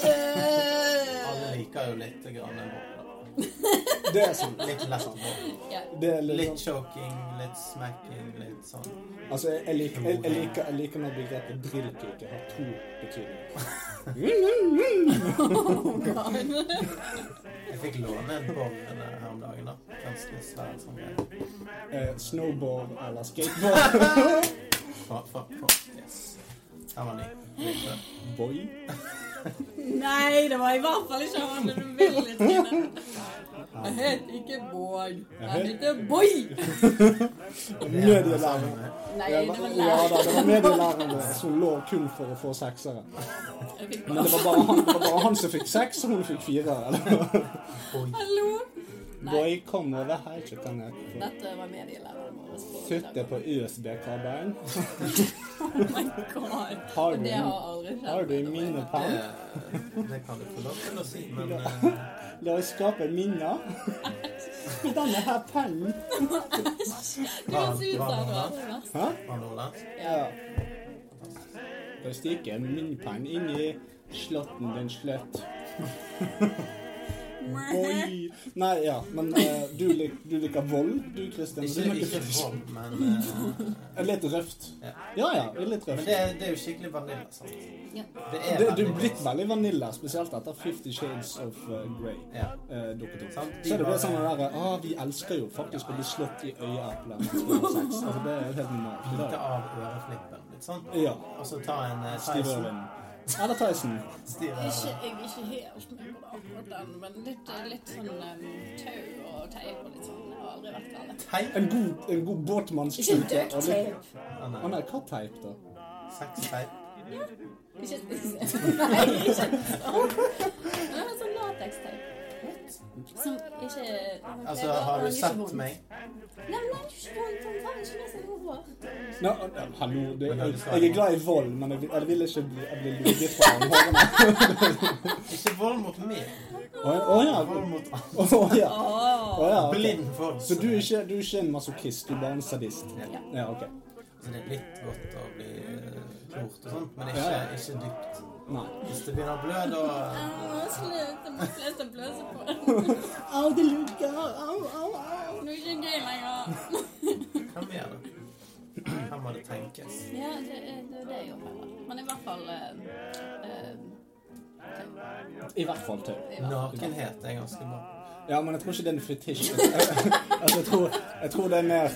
C: Alle
A: Eh,
C: liker jo litt grann en våpen.
B: Det er sant.
C: Litt lett våpen.
A: ja.
B: Det er litt,
C: Litt
B: sånn-
C: choking, litt smacking, litt sånn.
B: altså, jeg, jeg, liker, jeg, jeg liker Jeg liker når begrepet drillpike har to betydninger.
A: Oh god.
C: Jeg fikk låne en borr her om dagen, da. Ganske svær sånn som det.
B: Eh, Snowboard eller skateboard.
C: Fa, fa, fa. Yes. Den var ny. Likte den.
B: Boy.
A: Nei, det var i hvert fall ikke han men du ville litt Trine. Jeg heter ikke Bård. Jeg heter Boy.
B: Medielærer.
A: Nei,
B: Ja,
A: det var
B: ja da,
A: lærer.
B: det var medielæreren eh, som lå kun for å få seksere.
A: Jeg fikk
B: Men det
A: bare
B: var bare han, det var bare han som fikk seks, og hun fikk fire. Eller?
A: Hallo. Nei,
B: Boy, kom over her, så kan jeg få
A: dette var medielæreren vår.
B: Tutte på USB-kabelen.
A: Oh my god.
B: Har
A: Og
B: du,
A: det har aldri skjedd.
B: har du
A: by the way.
B: mine penn?
C: Det, det kan du få lov til å si, men eh,
B: La oss skape minner. Med denne her pennen.
A: Du høres ut
C: Hva- hva
A: som du
C: var
A: har vært
B: Hæ?
C: var Nordland?
B: Ja. Da stikker jeg min penn inn i slåtten den sløtt. Boy. Nei, ja, men eh, du, lik, du liker vold, du, Christian.
C: Ikke,
B: Du liker
C: ikke
B: fetisj.
C: vold, men eh,
B: Er Litt røft.
C: Ja.
B: Ja ja, er litt
C: Men
B: røft.
C: det, er- det er jo skikkelig vanilla, sant?
A: Ja.
C: Det er
B: Det, du er
C: vanilla.
B: blitt veldig vanilla, spesielt etter Fifty Shades of uh, Grey.
C: Ja.
B: eh, dukket opp.
C: Sant?
B: Så er det det sånn der ah, Vi elsker jo faktisk å bli slått i øyeeplet. mens vi har sex. Altså, det er jo helt normalt. Det
C: Bite
B: er-
C: av øreflippen, litt sånn.
B: Ja.
C: Og så ta en eh,
B: Steve
C: Tyson.
B: Irwin. Eller Tyson.
C: Styre
A: Ikke, jeg er ikke helt med på akkurat den, men litt, litt sånn um, tau og teip og litt sånn. Det har aldri vært galt.
C: teip.
B: En god, en god
A: Ikke
B: båtmannskjute.
A: dødt teip.
C: Ah,
B: Han
C: nei.
B: er katteteip, da.
C: Sexteip.
A: Ikke Nei, ikke sånn. Det er sånn lateksteip. Som ikke hun
C: Altså,
A: krever, og
C: har du
A: det er ikke
C: sett
A: vondt.
C: meg?
A: Nei, men det er ikke vondt. Hun tar ikke med seg hodet.
B: Nå, eh, hallo, det, jeg, jeg er glad i vold, men jeg, vil- jeg vil ikke bli, jeg blir ligget fra hårene.
C: Ikke vold mot meg.
B: Å å ja.
C: Vold mot andre.
B: Å ja. Å ja. ok.
C: Blind vold.
B: Så du er, ikke, du er ikke en masochist, du er bare en sadist?
A: Ja.
B: Ja, ok.
C: Så det er litt godt å bli eh, klort og sånt, men
B: Ja,
C: ikke,
B: ja.
C: ikke dypt.
B: Nei.
C: Hvis det begynner å blø, da
A: Au, Slutt. Jeg må slutte å bløse på den.
B: Au, det lugger. Au, au, au.
A: Det er ikke gøy lenger.
C: Hva mer, da? Her må det tenkes.
A: Ja, det er det, er det jeg jobber med. Men i hvert fall eh, eh,
B: I hvert fall tau.
A: i hvert fall.
C: Nakenhet er ganske bra.
B: Ja, men jeg tror ikke det er en fetisj. altså, jeg, tror, jeg tror det er mer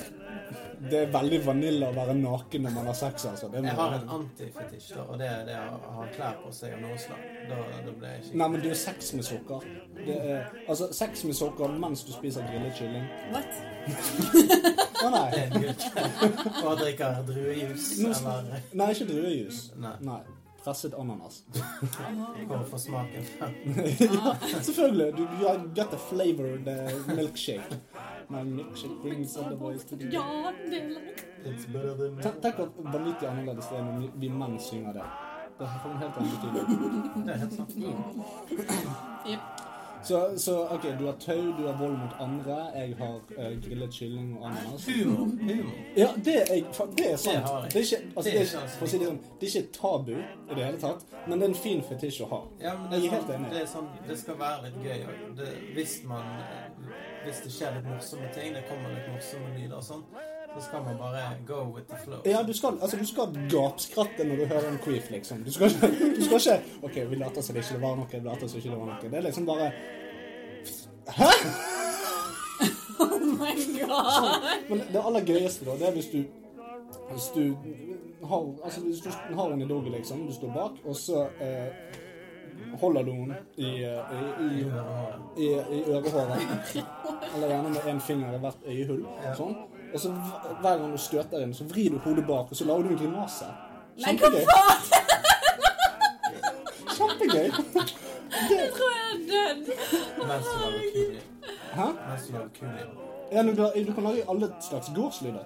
B: Det er veldig vanilla å være naken når man har sex, altså. Det
C: Jeg
B: må,
C: har en antifetisj, da, og det er det å ha klær på seg av noe slag. Da, da blir jeg ikke
B: Nei, men du er sex med sokker. Det er, altså, sex med sokker mens du spiser grillet kylling.
A: What?
B: Å nei.
C: en gud. Og drikker druejus eller
B: Nei, ikke druejus.
C: Nei.
B: Nei. Presset ananas.
C: Går for smaken frem.
B: Selvfølgelig. Du, you have got the flavor, the milkshake. My milkshake brings all the boys to the
A: Ja, det er lett.
C: It's better than
B: Ten- Tenk at vanvittig annerledes det er når vi- vi menn synger det. Det får en helt annen betydning.
C: Det er helt sant.
B: Mm.
A: Jepp.
B: Så, så OK, du har tau, du har vold mot andre, jeg har eh, grillet kylling og ananas.
C: Humor. Humor.
B: Ja, det er, fa- det er sant.
C: Det har jeg.
B: Det er ikke, altså, det er, ikke-
C: altså
B: for å si det sånn, det er ikke et tabu i det hele tatt, men det er en fin fetisj å ha.
C: Ja, men
B: Jeg er
C: det er
B: helt
C: sånn,
B: enig.
C: det, er sånn, det skal være litt gøy. og Det, hvis, man, hvis det skjer litt morsomme ting, det kommer litt morsomme lyder og sånn, så skal man bare go with the flow.
B: Ja, du skal, altså, du skal gapskratte når du hører en queef, liksom. Du skal ikke, du skal ikke OK, vi later som det ikke var noe, vi later som ikke det var noe. Det er liksom bare
A: Oh my god.
B: Men det aller gøyeste, da, det er hvis du Hvis du har, altså, hvis du har henne i doggy, liksom, du står bak, og så eh, holder du henne i, eh, i, i, i, i ørehåret. Eller gjerne med én finger i hvert øyehull. Sånn. Og så hver- hver gang du støter henne, så vrir du hodet bak, og så lager du en grimase.
A: Nei, hva
B: Kjempegøy.
A: faen?
B: Kjempegøy.
A: Jeg tror jeg er død.
C: Mens du lager kul lyd.
B: Hæ?
C: Mens du lager kul lyd.
B: Ja, du, du kan lage alle slags gårdslyder.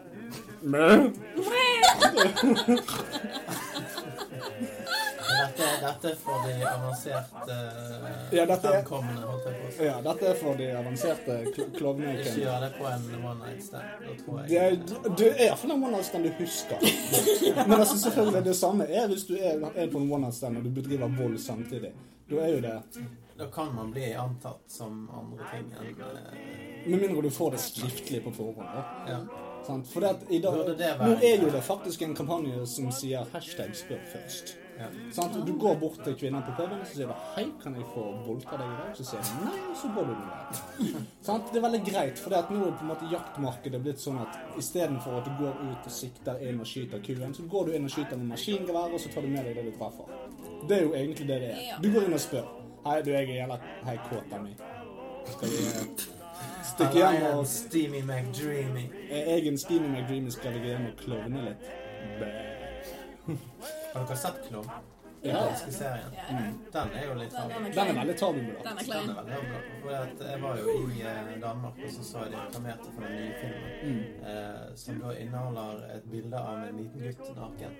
C: Dette, dette er for de avanserte
B: Ja, dette er-
C: fremkomne, holdt jeg på å si.
B: Ja, dette er for de avanserte kl-
C: Ikke
B: klovnekene.
C: gjør det på en one night stand. Da tror
B: Det er,
C: jeg
B: det er iallfall en one night stand du husker. Men altså selvfølgelig det samme er hvis du er, er på en one night stand og du bedriver vold samtidig. Da er jo det
C: Da kan man bli antatt som andre ting enn eh,
B: Med mindre du får det skriftlig på forhånd. da.
C: ja.
B: Sant? For det at i dag,
C: Burde det være-
B: nå er jo det faktisk en kampanje som sier hashtag spør først.
C: ja.
B: Sant? Du går bort til kvinner på puben og så sier du, 'Hei, kan jeg få voldta deg i dag?' Så sier de nei, og så går du den veien. Sant? Det er veldig greit, for det at nå er på en måte jaktmarkedet blitt sånn at istedenfor at du går ut og sikter inn og skyter kuen, så går du inn og skyter med maskingevær, og så tar du med deg det du treffer. Det er jo egentlig det det er.
A: Ja.
B: Du går inn og spør. 'Hei, du, jeg er jævla Hei, kåta mi. Skal vi eh, stikke
C: I
B: hjem
C: am
B: og
C: Steamy McDreamy.
B: Er jeg en steamy McDreamy, skal vi gå hjem og klovne litt?
C: Har dere sett Klovn?
B: Ja.
C: Danske serien.
A: Ja, ja.
C: Den er jo litt sånn
A: Den er
B: Den er
A: klein.
B: veldig tabubelagt.
A: Den er
C: Den
A: klein.
C: er veldig bra. For at jeg var jo i eh, Danmark, og så så jeg de reklamerte for den nye filmen.
B: Mm.
C: Eh, som da inneholder et bilde av en liten gutt naken.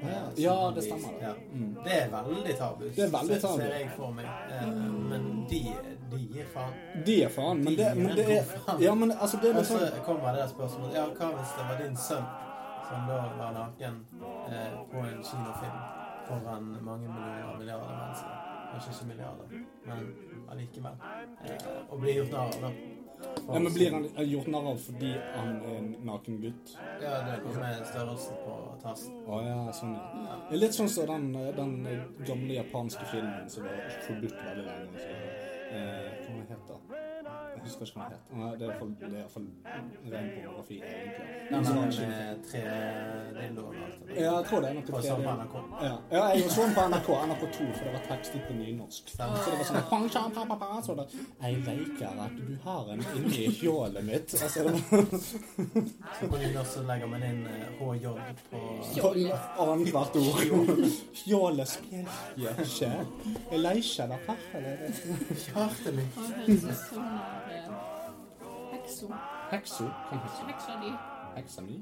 C: Eh, som
B: Ja,
C: han
B: det
C: viser-
B: stemmer.
C: Ja.
B: Mm.
C: Det er veldig tabu,
B: Det er veldig
C: ser-
B: tabu.
C: ser jeg for meg. Eh, men de, de gir faen.
B: De er faen, men det, men det er Ja, men altså, det er
C: Og
B: litt
C: så
B: sånn
C: kommer det der spørsmålet Ja, hva hvis det var din sønn som da var naken eh, på en kinofilm foran mange millioner milliarder mennesker? Kanskje ikke milliarder, men allikevel. Eh, og blir gjort narr av, da.
B: Ja, men Blir han gjort narr av fordi han er en naken gutt? Å
C: Ja, det er noe med størrelsen på tassen.
B: ja, sånn ja. Det er litt sånn som den, eh, den altså. gamle japanske filmen som var forbudt veldig lenge. Så, eh, hva den heter Jeg husker ikke hva han het. Nei, Det er iallfall- det er iallfall ren pornografi, egentlig.
C: Den
B: Så det
C: der
B: var
C: med tre dildoer og alt det
B: sånn
C: der.
B: Ja, jeg tror det er noe
C: På
B: tre-
C: samme NRK.
B: Ja. ja, jeg så den på NRK, NRK2, for det var tekstet på nynorsk. Så det var sånn pang, tjang, pang, pang, pang, så var det, Jeg leker at du har en inni fjålet mitt. Altså, det var
C: Så på nynorsk så legger man inn eh, HJ på
B: annethvert ord. Fjålet spjelker ikke. Jeg leker det her, eller?
C: Kjærtet mitt.
A: Han høres ut som han har eh, hekso.
B: Hekso. Kan hekso.
A: Heksa di.
B: Heksa mi?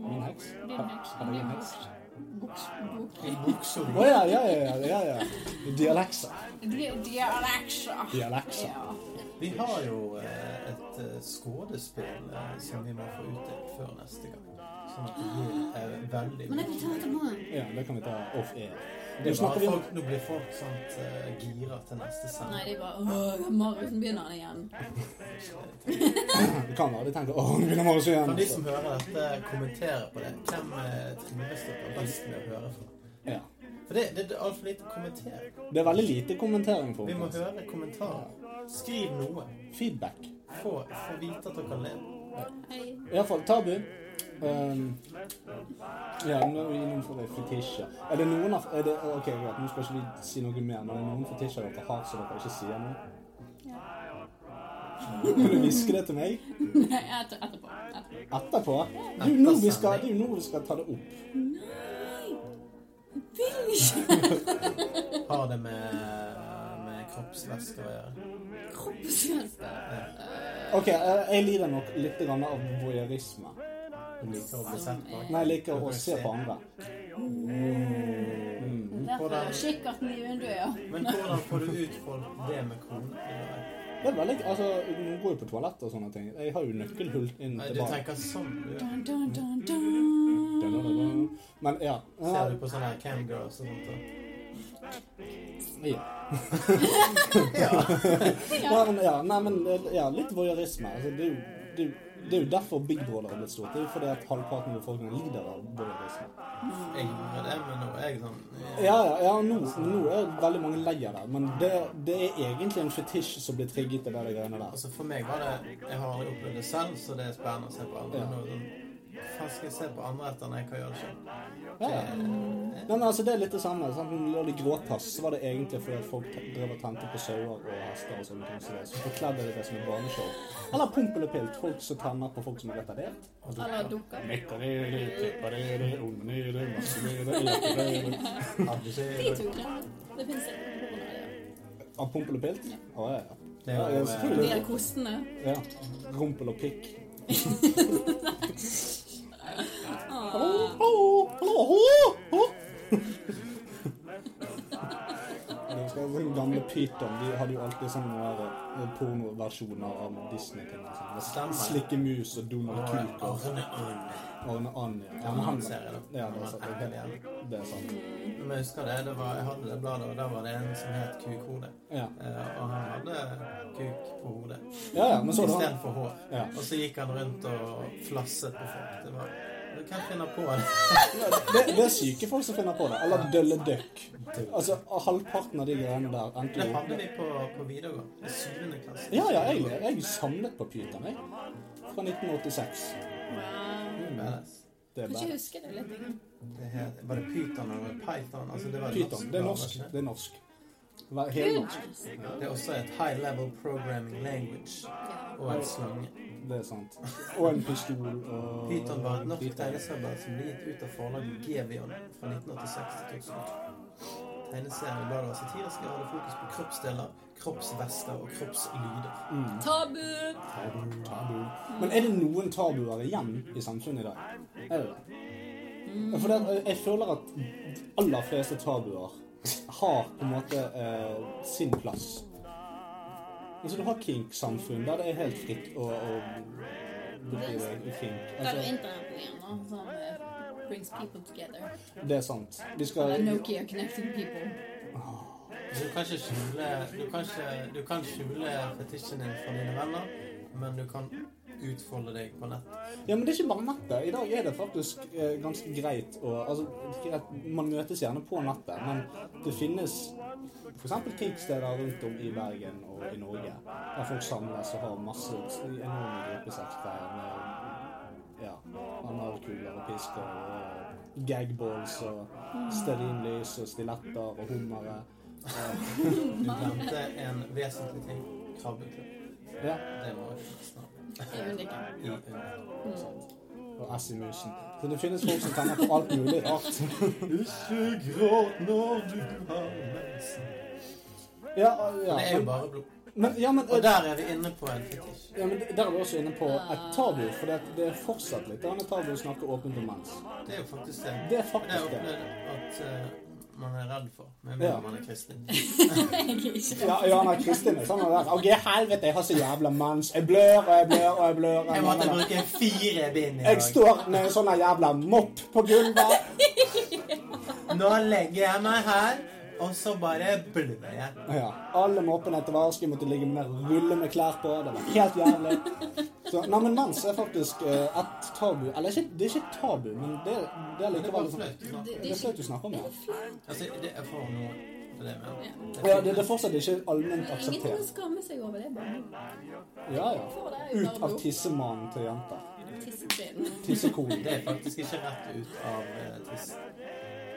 B: Min heks?
A: Din
B: Har-
A: heks.
B: Har du
A: Din
B: en
A: heks.
B: heks?
A: Boks. Bok.
C: I buksa
B: Å ja, ja, ja. ja, ja. Dialeksa.
A: Di- Dialeksa.
B: Dialeksa.
A: Ja.
C: Vi har jo eh, et eh, skuespill eh, som vi må få utdelt før neste gang. Sånn at det blir eh, veldig
A: Men jeg kan ta det på morgen.
B: Ja, det kan vi ta off air. Nå
C: Det er bare
B: snakker vi om
C: folk, nå blir folk sånt eh, gira til neste
A: Nei,
C: sending.
A: de bare Åh, Mariusen begynner han igjen.
B: Det kan være de tenker 'Å, nå begynner Marius
C: Kan de
B: igjen'.
C: som hører dette, kommentere på det? Hvem eh, trives dere best med å høre fra?
B: Ja.
C: For det, det, det er altfor lite kommentering.
B: Det er veldig lite kommentering på
C: Vi må
B: det.
C: høre kommentarer. Skriv noe.
B: Feedback.
C: Få, få vite at dere ler.
A: Hei.
B: Iallfall tabu. Um, ja, nå er vi innenfor det fetisjer. Er det noen av er det, Ok, greit, nå skal ikke vi si noe mer, men er det noen fetisjer dere har som dere ikke sier nå?
A: Ja.
B: Kan du hviske det til meg
A: Nei, etter, etterpå. etterpå.
B: etterpå? Det er jo nå vi skal, det er jo nå vi skal ta det opp.
A: Nei! Jeg vil ikke!
C: Har det med, eh, med kroppsvæsker å gjøre.
A: Kroppsvæsker.
B: Ok, eh, jeg lider nok litt grann av voyeurisme.
C: Du liker å bli sett på.
B: Nei, jeg liker å se på andre.
A: Mm.
C: Mm.
B: Mm.
A: Derfor er kikkerten i vinduet, ja.
C: Men hvordan får du ut folk det med kroner?
B: Det er veldig, altså, Nå går jo på toalett og sånne ting. Jeg har jo nøkkelhull inn
C: Nei,
B: til
C: du
B: baren.
C: tenker sånn. Du.
A: Dun, dun, dun, dun.
B: Men ja.
C: Ser du på sånne her camgirls og sånt? da?
B: ja. Nei, men, ja, nei, men ja, litt voyeurisme. Altså, det, er jo, det, er jo, det er jo derfor Big Brother har blitt stort. Det er jo fordi at halvparten av befolkningen lider av voyeurisme.
C: Jeg gjorde det, men nå er jeg sånn eh,
B: Ja, ja, ja nå, nå er veldig mange lei av det, men det, det er egentlig en fetisj som blir trigget av de greiene der.
C: Altså For meg var det Jeg har aldri opplevd det selv, så det er spennende å se på andre.
B: Ja.
C: Men nå er det sånn Hva faen skal jeg se på andre etter når jeg kan gjøre det selv? Eh,
B: Ja, ja. Nei, men altså, det er litt det samme. Sant? Når det gikk gråtass, så var det egentlig fordi at folk te- drev og tente på sauer og hester og sånne ting. som det. Så forkledde de det som et barneshow. Eller Pompel og Pilt. Folk som tenner på folk som er retardert.
A: Eller dukker.
C: Hadde
A: De
C: ikke
A: to greiene. Det fins ikke.
B: Av Pompel og Pilt? Å, ja, ja.
C: Det er jo
B: Ja,
A: De
B: selvfølgelig.
A: der kostene.
B: Ja. Rumpel og pikk. Åh, åh, åh, åh, åh. Jeg husker sånn gamle Python de hadde jo alltid sånne der, eh, pornoversjoner av Disney-ting. og sånn.
C: Stemmer.
B: Slikke mus og Donald Kuk og
C: Arne Arne.
B: Arne Anja. Ja, men
C: Han
B: han-
C: ser jeg da.
B: Ja, det er
C: Han
B: sant.
C: var ekkel igjen.
B: Det er sant.
C: Men jeg husker det, det var, jeg hadde det bladet, og der var det en som het Kukhode.
B: Ja.
C: Eh, og han hadde kuk på hodet
B: Ja, ja, men så er det han.
C: istedenfor hår.
B: Ja.
C: Og så gikk han rundt og flasset på folk. Det var Du kan finne på det.
B: Det, det er syke folk som finner på det. Eller Dølle Duck. Altså, halvparten av de greiene der endte
C: Det
B: jo
C: hadde vi på, på videregående. I syvende klasse.
B: Ja, ja, jeg, jeg er samlet på Python, jeg. Fra 1986.
A: Wow.
C: Badass.
B: Det er
A: Kan ikke
B: bare
A: huske det litt.
C: Det het, var det pyton og python? Altså, det var
B: Python. Det er norsk.
C: var det ikke
B: Det er norsk. Hver- Helt norsk.
A: Gud.
C: det? Det er også et high level programming language
A: Ja.
C: og en slange.
B: Det er sant. Og en pistol og
C: Pyton var et norsk
B: Python.
C: tegneserieblad som ble gitt ut av forlaget Gevion fra 1986 til 2000. Tegneserien i bladet var satirisk og hadde fokus på kroppsdeler, kroppsvester og kroppslyder.
B: Mm.
A: Tabu!
B: Tabu, tabu. Men er det noen tabuer igjen i samfunnet i dag? Er det det?
A: Mm.
B: For det, jeg føler at de aller fleste tabuer har på en måte eh, sin plass. Altså, du har kink-samfunn der det er helt fritt å, å bedrive kink.
A: Da er det
B: Altså,
A: internett igjen, da. Som eh, brings people together.
B: det er sant. Vi skal Ah.
A: Eller Nokia connecting people.
C: Du kan ikke skjule Du kan, ikke, du kan skjule fetisjen din for dine venner, men du kan utfolde deg på nett.
B: Ja, men det er ikke bare nettet. I dag er det faktisk eh, ganske greit å Altså, ikke greit, man møtes gjerne på nettet, men det finnes f.eks. kicksteder rundt om i Bergen og i Norge der folk samles og har masse enorme gruppesekter med ja, analkuler og pisker og gagballs og stearinlys og stiletter og hummere. Eh,
C: Du glemte en vesentlig ting. Krabbeklubb.
B: Ja,
C: Det må vi nesten ha.
A: I Unika.
C: I under.
A: Mm.
B: og ess i musen. Så det finnes folk som tenner på alt mulig rart.
C: Ikke gråt når du har mensen.
B: Ja, ja.
C: Det er jo bare blod.
B: Men, ja, men,
C: Og der er vi inne på en fetisj.
B: Ja, men Der er vi også inne på et tabu, for det, det er fortsatt litt annet tabu å snakke åpent om mens.
C: Det er jo faktisk det.
B: Det er
C: Det er
B: faktisk
C: jo
B: det.
C: at eh, man er redd for, med mindre
B: Ja.
C: man er kristen.
A: Jeg er ikke
B: Ja, ja nei, Kristin er sånn der. OK, helvete, jeg har så jævla mens. Jeg blør og jeg blør og jeg blør. og
C: Jeg måtte
B: blør.
C: bruke fire bind i
B: Jeg
C: dag.
B: står med en sånn der jævla mopp på gulvet.
C: Nå legger jeg meg her, og så bare blør jeg.
B: Ja, Alle moppene etter varsel måtte ligge med rulle med klær på. Det var helt jævlig. Så, nei, men mens er faktisk eh, et tabu. Eller ikke, det er ikke et tabu, men det, det er
C: Men det var
B: likevel sånn-
C: flaut. å snakke om.
B: Det er flaut å snakke om, ja.
C: Altså, det er for noe. Det er det jeg mener.
B: ja det, det er fortsatt ikke allment
A: Ingenting å
B: akseptert.
A: skamme seg over. Det er bare
B: Ja, ja.
A: Få det ut av
B: Ut av
A: blod.
B: tissemannen til jenter.
A: Tissetrinn.
B: Tissekonen.
C: Det er faktisk ikke rett ut av eh, tiss.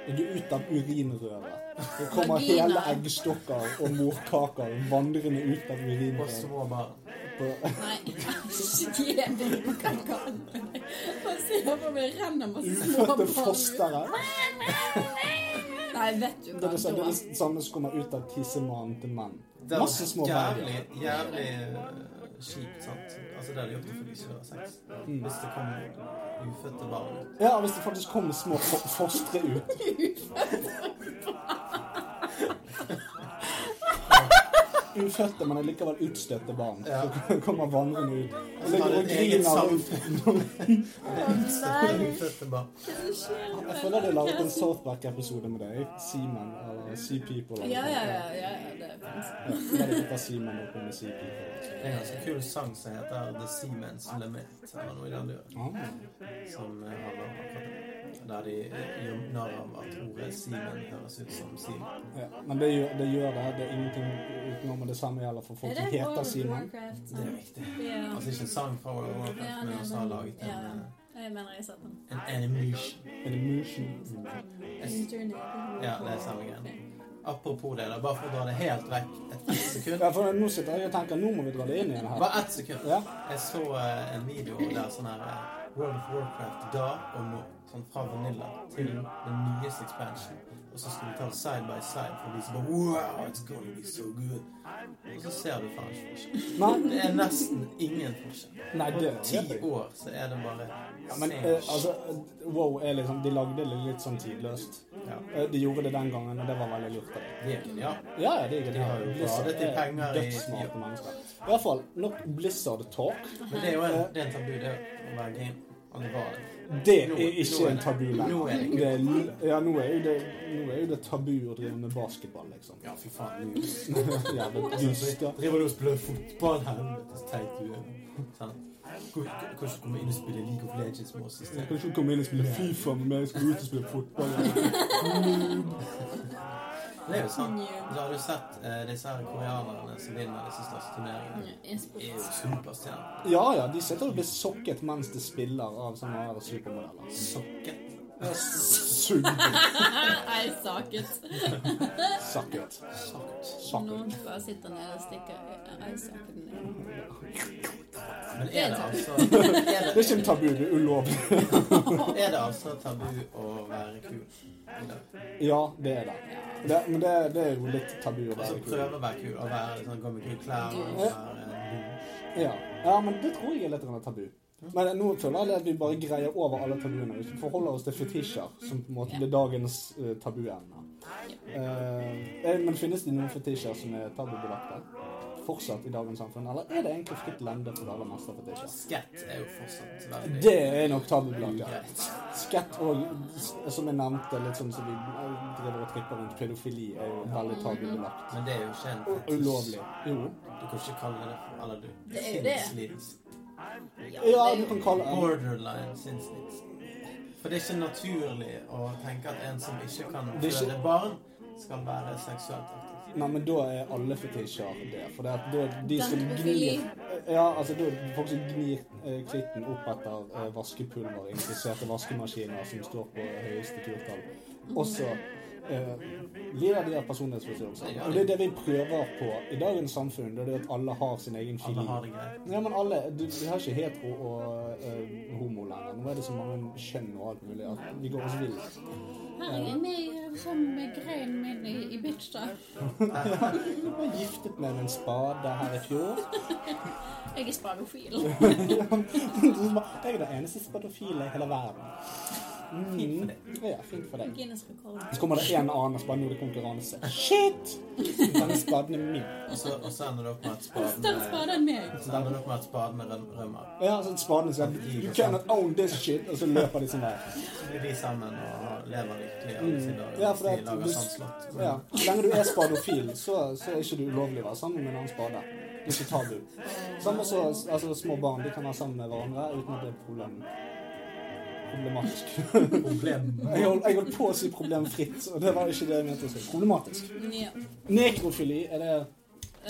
B: Du er ut av urinrøret. Det kommer
A: Vagina.
B: hele eggstokker og morkaker vandrende ut av
C: Og
B: urinrøret.
C: små barn.
B: På-
A: Nei, æsj. Djevel, hva kan det? Bare se på meg renner masse små
B: Ufødte
A: barn ut.
B: fostere.
A: Nei, vet du
B: Det
A: hva.
B: er det, sa- det, er sånn
A: da-
B: det samme som kommer ut av tissemannen til menn.
C: Det var
B: Masse små babyer.
C: jævlig, jævlig eh, kjipt, sant? Altså, det hadde gjort det fordi det ikke var sex.
B: Mm.
C: Hvis det kom ufødte barn ut.
B: Ja, hvis det faktisk kommer små fo- fostre ut. Ufødte, men likevel utstøtte barn.
C: Ja.
B: Så kommer vandrende ut. Og
C: Så har
B: ligger og
C: det et eget
B: griner.
C: samfunn.
A: Nei,
C: Ufødte barn.
A: hva er det som skjer?
B: Jeg føler det er laget en South Park-episode med deg. Seaman eller Sea People. eller
A: Ja,
B: noe
A: ja,
B: sånt.
A: ja. ja, ja det er faktisk-
B: Jeg vet ikke hva Seaman er med Sea People.
C: Det er en ganske kul sang som heter The Seamen's Limit, eller noe i den duren,
B: Ah.
C: som eh, handler om akkurat det. Der de eh, gjør narr av at ordet seaman høres ut som Seaman.
B: Ja, men det gjør, det gjør det. Det er ingenting utenom og det samme gjelder for
A: Er
B: folk
A: det
B: som heter
A: World of
B: Seaman.
A: Warcraft?
C: Det er riktig.
A: Ja.
C: Altså ikke en sang fra World of
A: Ja,
C: Warcraft, men
A: nei,
C: også har
A: men-
C: laget en,
A: ja.
C: eh,
A: Jeg mener jeg satt den.
C: en animation.
B: En emotion.
C: Jeg- Ja, det er samme greien. Apropos det, da, bare for å dra det helt vekk et sekund.
B: Ja, for nå sitter jeg og tenker nå må vi dra det inn igjen her.
C: Bare ett sekund.
B: Ja.
C: Jeg så eh, en video der sånn her eh, World of Warcraft da og nå. Sånn fra Vanilla til den nyeste expansion. Og så skulle vi ta det side by side for å vise bare Wow, it's gonna be so good. Og så ser du faen ikke forskjell.
B: Nei,
C: Det er nesten ingen forskjell.
B: nei
C: På
B: det
C: ti
B: vet jeg.
C: år så er det bare
B: Ja, men eh, altså, eh, wow er liksom De lagde det litt sånn tidløst.
C: ja,
B: Eh, De gjorde det den gangen, og det var veldig lurt av dem.
C: det er genialt.
B: Ja, ja, det er
C: De har jo
B: genialt. Blizzard
C: badet i
B: er
C: penger i-
B: dødssmarte mennesker. I hvert fall, nok Blizzard talk.
C: Men det er jo en, det er en tabu, det å være gay. Og det var det.
B: Det
C: Nå-
B: er ikke
C: nå er
B: en
C: det-
B: tabu
C: nå er det
B: lenger.
C: ikke.
B: Det er, l- ja, nå er jo det, nå er jo det tabu å drive med basketball, liksom.
C: Ja, fy faen. det er jo-
B: Jævla dyster.
C: Driver du og spiller fotball? Helvete, så teit du Sånn. er. Sant? Kan- kan- Kanskje du kommer inn og spiller League of Legends med oss i
B: Jeg
C: stedet.
B: kan ikke komme inn og spille Fifa med meg, jeg skal ut og spille fotball.
C: Det er jo sant. Da har du sett eh, disse her koreanerne som vinner disse største turneringene. De er jo superstjerner.
B: Ja ja, de sitter og blir sokket mens de spiller av sånne her supermodeller.
C: Sokket.
B: Sugd.
A: Jeg saket.
B: Sakket.
C: Sagt.
B: Sakket.
A: Noen bare sitter nede og stikker jeg saket ned.
C: Men er det altså er
B: Det er ikke
C: det,
B: en tabu, det er ulovlig.
C: er det altså tabu å være kul? i dag?
B: Ja, det er det. det men det, det er jo litt tabu å
C: Altså
B: være kul.
C: prøve å være kul og være sånn, gå med kule klær og være
B: Ja. ja, men det tror jeg er litt grann tabu. Men nå føler jeg at vi bare greier over alle tabuene. Hvis vi forholder oss til fetisjer, som på en måte blir dagens uh, tabuemne. Eh, eh, men finnes det noen fetisjer som er tabubelagte fortsatt i dagens samfunn? Eller er det egentlig fritt lende for det aller meste av fetisjer?
C: Skett er jo fortsatt veldig
B: Det er nok tabubelagt, ja.
C: ugreit.
B: Skett og, som jeg nevnte, litt sånn som vi eh, driver og tripper rundt, pedofili er jo veldig tabubelagt.
C: Men det er jo ikke en
B: Og
C: fetisj.
B: ulovlig. Jo.
C: Du kan ikke kalle det for Eller du
A: Det er jo det.
C: sinnslidelse.
B: Ja, du kan kalle det
C: Borderline sinnsnitsen. For det er ikke naturlig å tenke at en som ikke kan
B: Det er ikke-
C: føde barn, skal være seksuelt aktiv.
B: Nei, men da er alle fetisjer det. For det at da er de som
A: Dampefili.
B: gnir Ja, altså da er det folk som gnir eh, klitten opp etter eh, vaskepulver, infiserte vaskemaskiner som står på høyeste turtall. Også eh, lider de av personlighetsforstyrrelser. Og det er det vi prøver på i dagens samfunn. Det er det at alle har sin egen fili.
C: Alle har det greit.
B: Ja, men alle, du, Vi har ikke hetero og eh, homo lenger. Nå er det så mange kjønn og alt mulig at vi går oss vill.
A: Herregud, jeg er sånn med greinen min i, i bitch, da.
B: Jeg var giftet med en spade her i fjor.
A: Jeg er spadofil.
B: Så bare, Jeg er den eneste spadofile i hele verden. Mm. Fint for deg. Ja, fint for deg.
A: Guinness rekord.
B: Så kommer det en annen og så bare nå er det konkurranse. Shit! Den spaden er min.
C: Og så, og så ender det opp med at
A: Større
C: spaden
A: spade enn meg.
C: så ender det opp med at spaden røm- rømmer.
B: Ja, så spaden sier You cannot own this shit, og så løper de sin vei.
C: Så blir de sammen og har- lever lykkelig alle sine dager.
B: Mm. Ja,
C: hvis
B: for det
C: de
B: at
C: lager
B: hvis-
C: sånn slott. Men
B: Ja. Så lenge du er spadofil, så, så er ikke du ulovlig å være sammen med en annen spade. Det er ikke tabu. Samme så, altså, små barn de kan være sammen med hverandre uten at det er problem. problematisk.
C: problem.
B: Jeg holdt, jeg holdt på å si problemfritt, og det var ikke det jeg mente å si. Problematisk.
A: Ja.
B: Nekrofili, er det
A: Uh,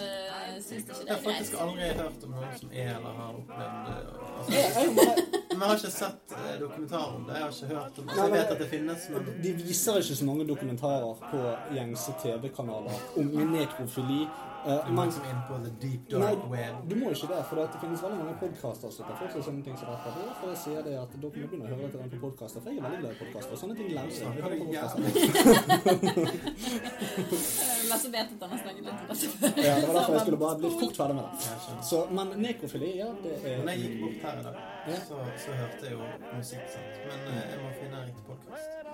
A: syns ikke det
C: Jeg har
A: er
C: faktisk
A: greit.
C: aldri hørt om noen som er eller har opplevd det.
B: Jeg,
C: Altså,
B: jeg, bare,
C: men jeg har ikke sett eh, dokumentar om det. Jeg har ikke hørt om det.
B: Nei,
C: Jeg
B: men-
C: vet at det finnes, men
B: De viser ikke så mange dokumentarer på gjengse TV-kanaler om nekrofili. eh,
C: Du må
B: men
C: liksom inn på the deep
B: Nei,
C: dark web.
B: du må ikke det, for det finnes veldig mange podkaster som tar for seg sånne ting som dette. Det er derfor jeg sier det at dere må begynne å høre etter den på podkaster, for jeg er veldig glad i podkaster. Sånne ting lærer jeg. Vi hører på podcaster.
A: Eh, Lasse vet at han har snakket litt om dette
B: Ja, det var derfor jeg skulle bare bli fort ferdig med det.
C: Jeg skjønner.
B: Så, men nekrofili, ja, det er
C: Når jeg gikk bort her i dag,
B: Ja.
C: så, så hørte jeg jo musikk, sant. Men eh, jeg må finne en riktig podkast.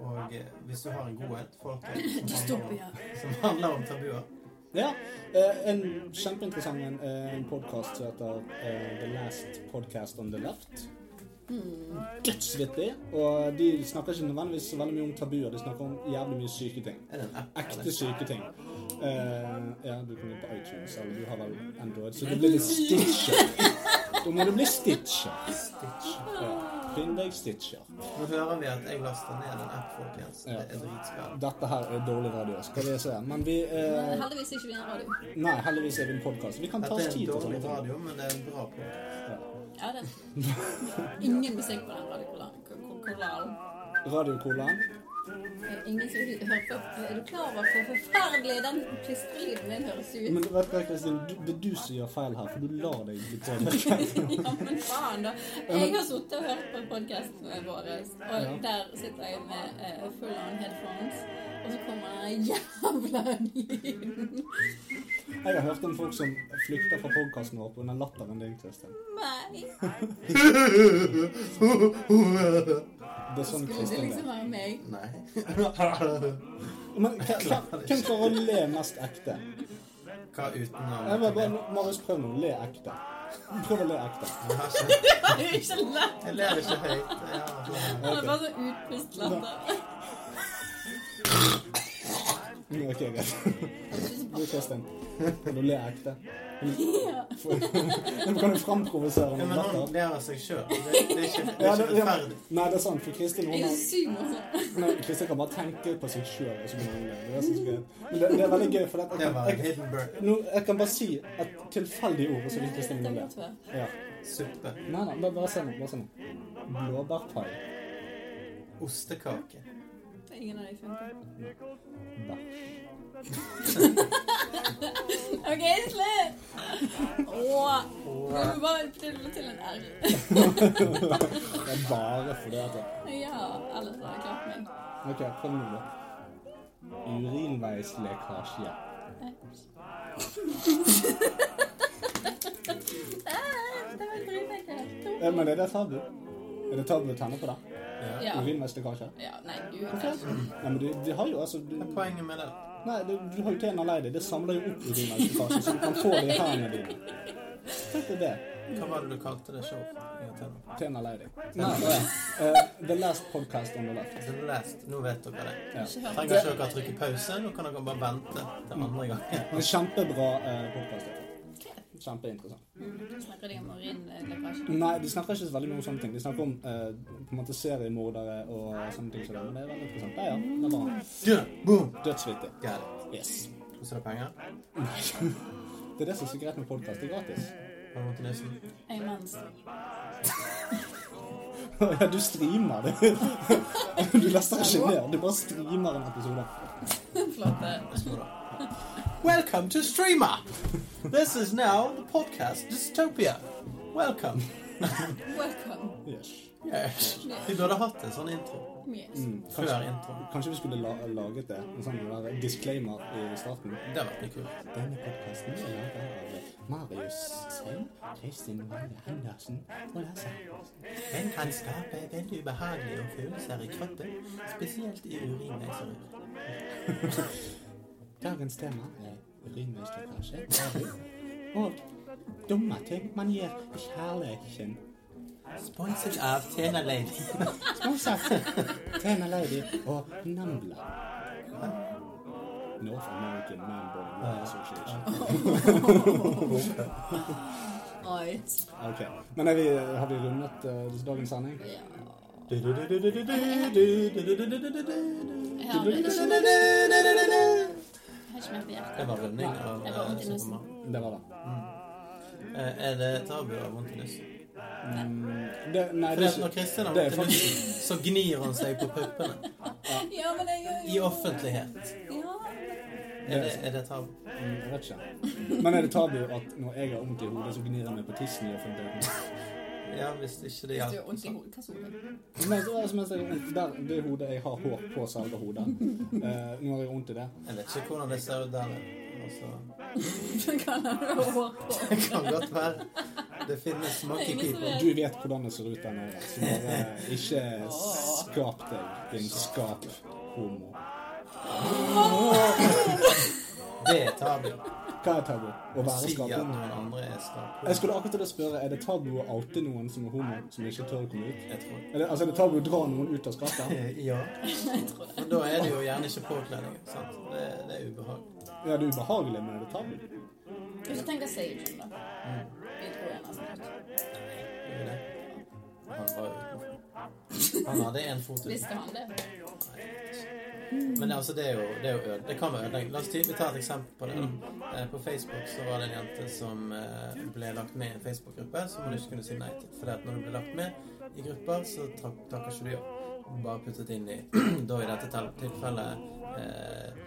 C: Og eh, hvis du har en god en, folk eh, som, handler
A: Dystopia.
C: om- som handler om tabuer
B: Ja. eh, En kjempeinteressant en, eh, en podkast som heter eh, The Last Podcast on the Left.
C: Hmm.
B: Dødsvittig. Og de snakker ikke nødvendigvis så veldig mye om tabuer, de snakker om jævlig mye syke ting.
C: Er det en app?
B: Ekte syke ting. Eh, ja, du kan jo på iTunes, eller du har vel Android, så du blir litt stitcher. Da må du bli stitcher.
C: Stitch.
B: Ja. Finn deg stitcher.
C: Nå hører vi at jeg laster ned en app, folkens.
B: Ja.
C: Det er dritspennende.
B: Dette her er dårlig radio, skal vi se. Men vi
A: Men
B: eh,
A: Heldigvis ikke vi har radio.
B: Nei, heldigvis er vi en podkast. Vi kan ta
C: Dette
B: oss
C: er en
B: tid til
C: dårlig
B: sånne ting.
C: radio, men det er en bra podkast.
A: Ja, det Ingen musikk på den radiokolalen.
B: Radio Colan.
A: Ingen som hører på. Er du klar over hvor forferdelig den plystryden din høres ut?
B: Men vet du hva, Kristin, du- det er du som gjør feil her, for du lar deg bli påvirket.
A: Ja, men faen, da. Jeg har sittet og hørt på podkastene våre, og der sitter jeg med eh, full on headphones, og så kommer den jævla lyden.
B: Jeg har hørt om folk som flykter fra podkasten vår pga. latteren din, Kristin.
A: Nei.
B: Det er sånn
A: Skulle det
B: Kristin
A: liksom
B: er.
A: være meg?
C: Nei.
B: Men hva- hva- hvem klarer å le mest ekte?
C: Hva uten å
B: Jeg vil bare, Marius, prøv nå. Le ekte. Prøv å le ekte.
C: Jeg har ikke-
A: Det var jo ikke lett.
C: Jeg ler ikke høyt. Jeg har-
A: Det var bare så utpustlatter.
B: Mm, Ok, greit. Du, Kristin. Kan du le ekte?
A: Ja.
B: Du kan jo framprovosere
C: Ja,
B: noen
C: men han
B: latter.
C: ler av seg sjøl. Det, det er ikke, det
B: Ja,
C: er
B: det,
C: ikke
B: ja,
C: rettferdig.
B: nei, det er sant, for Kristin hun
A: Jeg er
B: har
A: så syk morsom.
B: Nei, Kristin kan bare tenke på seg sjøl. Men det, det er veldig gøy, for at
C: Det
B: jeg,
C: var en
B: jeg,
C: hidden bird.
B: nå, jeg kan bare si et tilfeldig ord, og så vil Kristin
A: Det har jeg
B: le.
A: gjort før.
B: Ja.
C: Suppe.
B: Nei, nei, bare, bare se nå. Bare se nå. Blåbærpai.
C: Ostekake.
A: Ingen av de funker.
B: Bæsj.
A: OK, slutt! Åh, Nå må vi bare prøve til en R.
B: Det er bare fordi at jeg-
A: Ja, ellers har jeg klart meg.
B: Ok, prøv nå. da. Urinveislekkasje.
A: Ah, Det var dritlekkert.
B: Eh, Men er det tabu? Er det tabu å tenne på det?
C: Ja.
A: Ja.
B: Urinveislekkasje?
A: ja. Nei,
B: Hvorfor?
A: gud.
B: Nei, men du, du har jo altså du,
C: Hva er poenget med det?
B: Nei, du, du har jo tena lei deg. Det samler jo opp urinveislekkasje, så du kan få det i hendene dine. Tenk deg det.
C: Hva var det du kalte det showet? Jeg har tenkt på.
B: Tena lei deg. Nei, nei. Eh, the last podcast on the left.
C: Så du lest. Nå vet dere det.
B: Ja.
A: Ikke hørt.
C: Trenger ikke dere
B: Mm.
C: trykke pause. Nå kan dere bare vente til andre gangen.
B: En kjempebra eh, podcast.
A: Ok.
B: Kjempeinteressant.
A: Snakker de om urinlekkasje?
B: Nei, de snakker ikke så veldig mye om sånne ting. De snakker om eh, på en måte seriemordere og sånne ting. som det, Men det er veldig interessant. Ja, ja. Det var han.
C: Yeah, boom!
B: Dødsvittig.
C: Got it.
B: Yes.
C: Koster det penger?
B: Nei. Det er det som er så greit med podkast. Det er gratis.
C: Har du vondt i nesen?
A: Jeg er mens.
B: Ja, du streamer, du. Du laster ikke ned. Du bare streamer en episode.
A: Flate.
C: Welcome to Streamer! This is now the podcast Dystopia. Welcome.
A: Welcome.
B: Yes.
C: Yes. Vi burde hatt en sånn intro.
A: Yes.
B: Mm.
C: Før
B: Kanskje,
C: introen.
B: kanskje vi skulle la laget det. En sånn der disclaimer i starten.
C: Det hadde vært litt kult.
B: Denne podkasten er laget av Marius Sein, Kristin Welle Hendersen og Lars Hendersen.
C: Den kan skape veldig ubehagelige følelser i kroppen, spesielt i urinveiserøret.
B: Dagens tema er urinveistekkasje, tabu og dumme ting man gjør i kjærligheten.
C: Sponset av Tena Lady.
B: Sponset Tena Lady og Nambla. North American Man Board Law Association. Mm.
A: Right.
B: Ok, Men er vi, har vi rundet eh, dagens sending?
A: Ja. Jeg har ikke
C: Det
A: jeg har ikke mer på hjertet.
C: var runding av
A: Jeg var
C: eh,
A: vondt i nesen.
C: Supermann.
B: Det var det.
C: Eh, Er det tabu å ha vondt i nesen?
B: Mm, det nei, det
C: Fordi at Når
B: er ikke
C: Kristin har
B: det er
C: vondt i nesen, så gnir hun seg på puppene.
A: Ja, men jeg gjør
C: I
A: jo
C: offentlighet.
A: Ja.
C: Er det, er det tabu?
B: Mm, Jeg vet ikke. Men er det tabu at når jeg har vondt i hodet, så gnir jeg meg på tissen i offentligheten?
C: Ja, hvis ikke det
A: Du har
C: hjelper.
A: vondt i hodet. Hva sa du?
B: Men så- altså, mens jeg har vondt der, det hodet jeg har hår på selve hodet, eh, når jeg har vondt i det
C: Jeg vet ikke hvordan det ser ut der. Altså,
A: Kan han ha hår på?
C: det kan godt være. Det finnes monkey
A: Ingen som
C: people.
B: Du vet hvordan det ser ut der nede, så bare eh, ikke skap deg, din skap homo.
C: Det er tabu.
B: Hva er tabu? Å være
C: Si
B: skap
C: at
B: homo?
C: noen andre er
B: Jeg
C: skaphomo.
B: skulle akkurat til å spørre, er det tabu å oute noen som er homo, som ikke tør å komme ut?
C: Jeg tror
B: Er det, altså, er det tabu å dra noen ut av skapet?
C: Eh, Ja. Men da er det jo gjerne ikke påkledninger. sant? Det, det er ubehag.
B: Ja, det er ubehagelig, men er det tabu?
A: Hvis du tenker Sage, da.
B: Mm.
A: Vi tror jeg nesten ikke.
C: Det er jo det. Han var utenfor. Han hadde én fot utenfor.
A: Visste han det?
C: Men altså, det er jo, det er jo øde. Det kan være ødeleggende. La oss ty- vi tar et eksempel på det. da. Eh, På Facebook så var det en jente som eh, ble lagt med i en Facebook-gruppe som hun ikke kunne si nei til. For at når du blir lagt med i grupper, så tak- takker ikke du ja. Bare puttet inn i da i dette tel- tilfellet eh,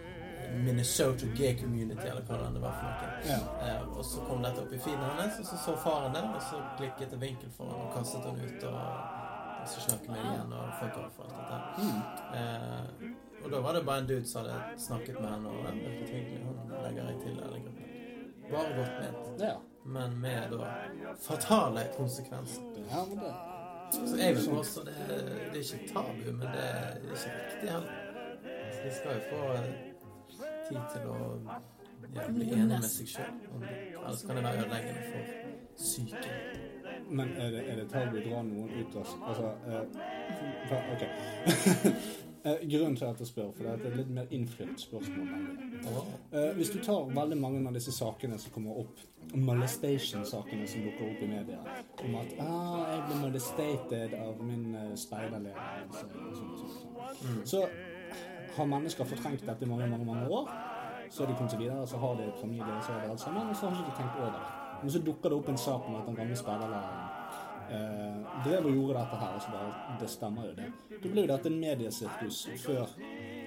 C: Minnesota Gay Community, eller hva det var for noe.
B: Ja.
C: Eh, og så kom dette opp i feeden hennes, og så så faren det, og så klikket det vinkel for henne og kastet henne ut, og, og så snakket vi igjen og fuck off og alt dette.
B: Mm.
C: Eh, og da var det bare en dude som hadde snakket med henne, og han virket hyggelig. Hun legger jeg til denne gruppen. Bare godt ment,
B: Ja.
C: men med da fatale konsekvenser.
B: Det er det.
C: Så jeg vil påstå det, det er ikke tabu, men det er ikke riktig heller. Så de skal jo få eh, tid til å ja, bli enig med seg sjøl. Ellers kan det være ødeleggende for psyken.
B: Men er det, er det tabu å dra noen ut av Altså eh, hva- OK. Eh, Grunnen til at jeg spør, for det er et litt mer innflytt spørsmål. nemlig.
C: Åh,
B: Eh, hvis du tar veldig mange av disse sakene som kommer opp, molestation-sakene som dukker opp i media, om at ah, 'jeg ble molestated av min eh, speiderleder', altså, og sånn, og sånn, og sånn. så har mennesker fortrengt dette i mange, mange, mange år. Så har de kommet seg videre, så har de familie, så har de alt sammen, og så har de ikke tenkt over det. Men så dukker det opp en sak om at den gamle speiderlæreren eh, drev og gjorde dette her, og så bare Det stemmer jo, det. Da ble jo dette en mediesirkus før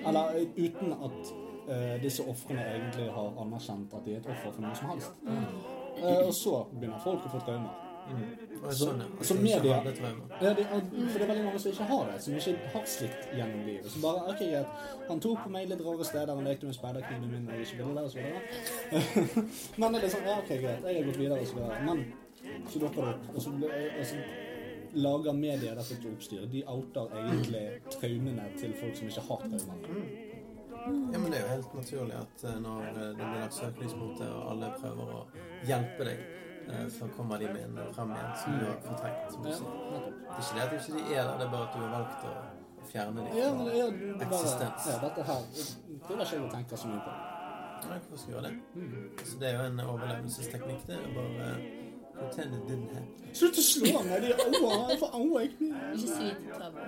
B: Eller eh, uten at eh, disse ofrene egentlig har anerkjent at de er et offer for noe som helst. Eh, og så begynner folk å få traumer.
C: Mm. Og jeg
B: Så-
C: skjønner at
B: så
C: jeg ikke
B: media-
C: hadde traumer.
B: Ja, det, og- for det er veldig mange som ikke har det, som ikke har slikt gjennom livet. Som bare ok, greit, han tok på meg litt rare steder, han lekte med speiderkniven min og jeg ikke ville det, og så videre. Men det er liksom, ja, ok, greit, jeg har gått videre, og så videre. Men så dukker det opp, og så, blir- og så lager media dette til oppstyr. De outer egentlig traumene til folk som ikke har traumer.
C: Ja, men Det er jo helt naturlig at eh, når eh, det blir lagt søkelys mot det, og alle prøver å hjelpe deg, eh, så kommer de med en frem igjen som du har fortrengt. som du
B: Mm. Ja,
C: sier.
B: nettopp.
C: Det er ikke det at ikke de ikke er der, det er bare at du har valgt å fjerne dem.
B: Ja, men det er det er bare
C: Eksistens.
B: ja, dette her. Det vil ikke jeg tenke så mye på.
C: Nei, hvorfor skal jeg gjøre det? Så det er jo en overlevelsesteknikk. Det er bare eh, pretend it didn't happen.
B: Slutt å slå meg! De auer, for auer jeg kniv.
A: Ikke syt tabu.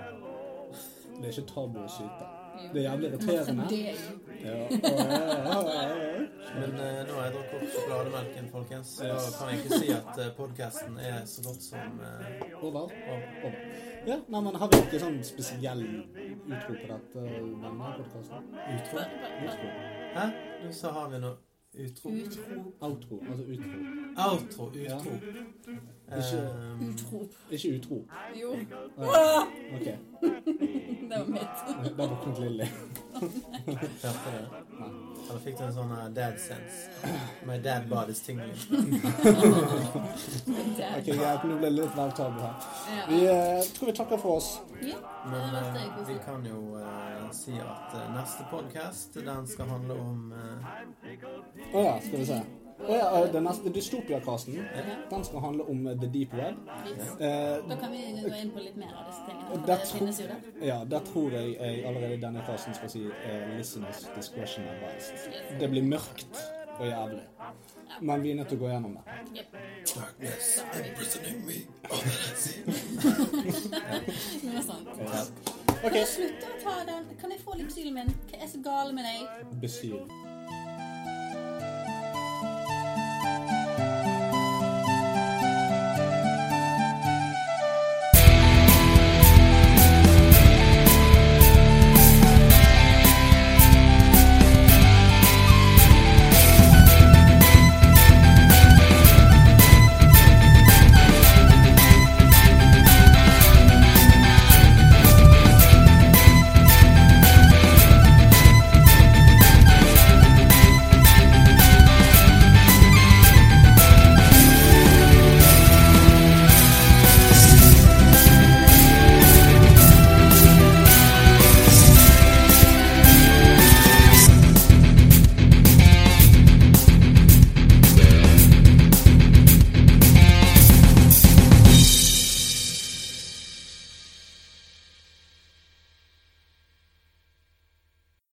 B: Det er ikke tabu å skyte.
A: Jo.
B: Det er jævlig irriterende.
A: Altså, Det-
B: Ja. Åh,
C: Men eh, nå har jeg drukket opp sjokolademelken, folkens, så da kan jeg ikke si at eh, podcasten er så godt som eh,
B: Over.
C: over.
B: Over. Ja, nei, men har vi ikke sånn spesiell utro på dette eh, denne podkasten?
C: Utro?
B: Utro?
C: Hæ? Du sa har vi noe utro?
A: Utrop.
B: Outro. Altså utro.
C: Outro, utro. Eh,
A: Utrop.
B: Ikke utro.
A: Jo,
B: Ah, OK.
A: det var mitt.
B: Der var Knut Lilly.
C: Hørte du det? Eller fikk du en sånn eh, dad sense? My dad bod is tingling.
B: Ok,
A: Det.
B: greit. Nå ble det litt vel tabu her.
A: Ja.
B: Vi eh, tror vi takker for oss.
A: Ja,
C: Men
A: det har vært
C: eh, vi
A: koselig.
C: kan jo eh, si at eh, neste podcast, eh, den skal handle om eh,
B: Å ja, skal vi se. Å ja, eh, den neste dystopiakasten, den skal handle om eh, The Deep Web.
A: Yes.
B: Eh,
A: Da kan vi gå inn på litt mer av disse tingene.
B: Og
A: for
B: der
A: Det
B: tror-
A: finnes jo der.
B: ja, der tror jeg jeg allerede i denne fasen skal si eh, listeners discretion advised. Det blir mørkt og jævlig. Men vi er nødt til å gå gjennom det.
A: Yep.
C: Darkness imprisoning me.
A: Noe sånt.
B: OK.
A: Slutt å ta den. Kan jeg få lipsylen min? Hva er så gale med deg?
B: Besyv.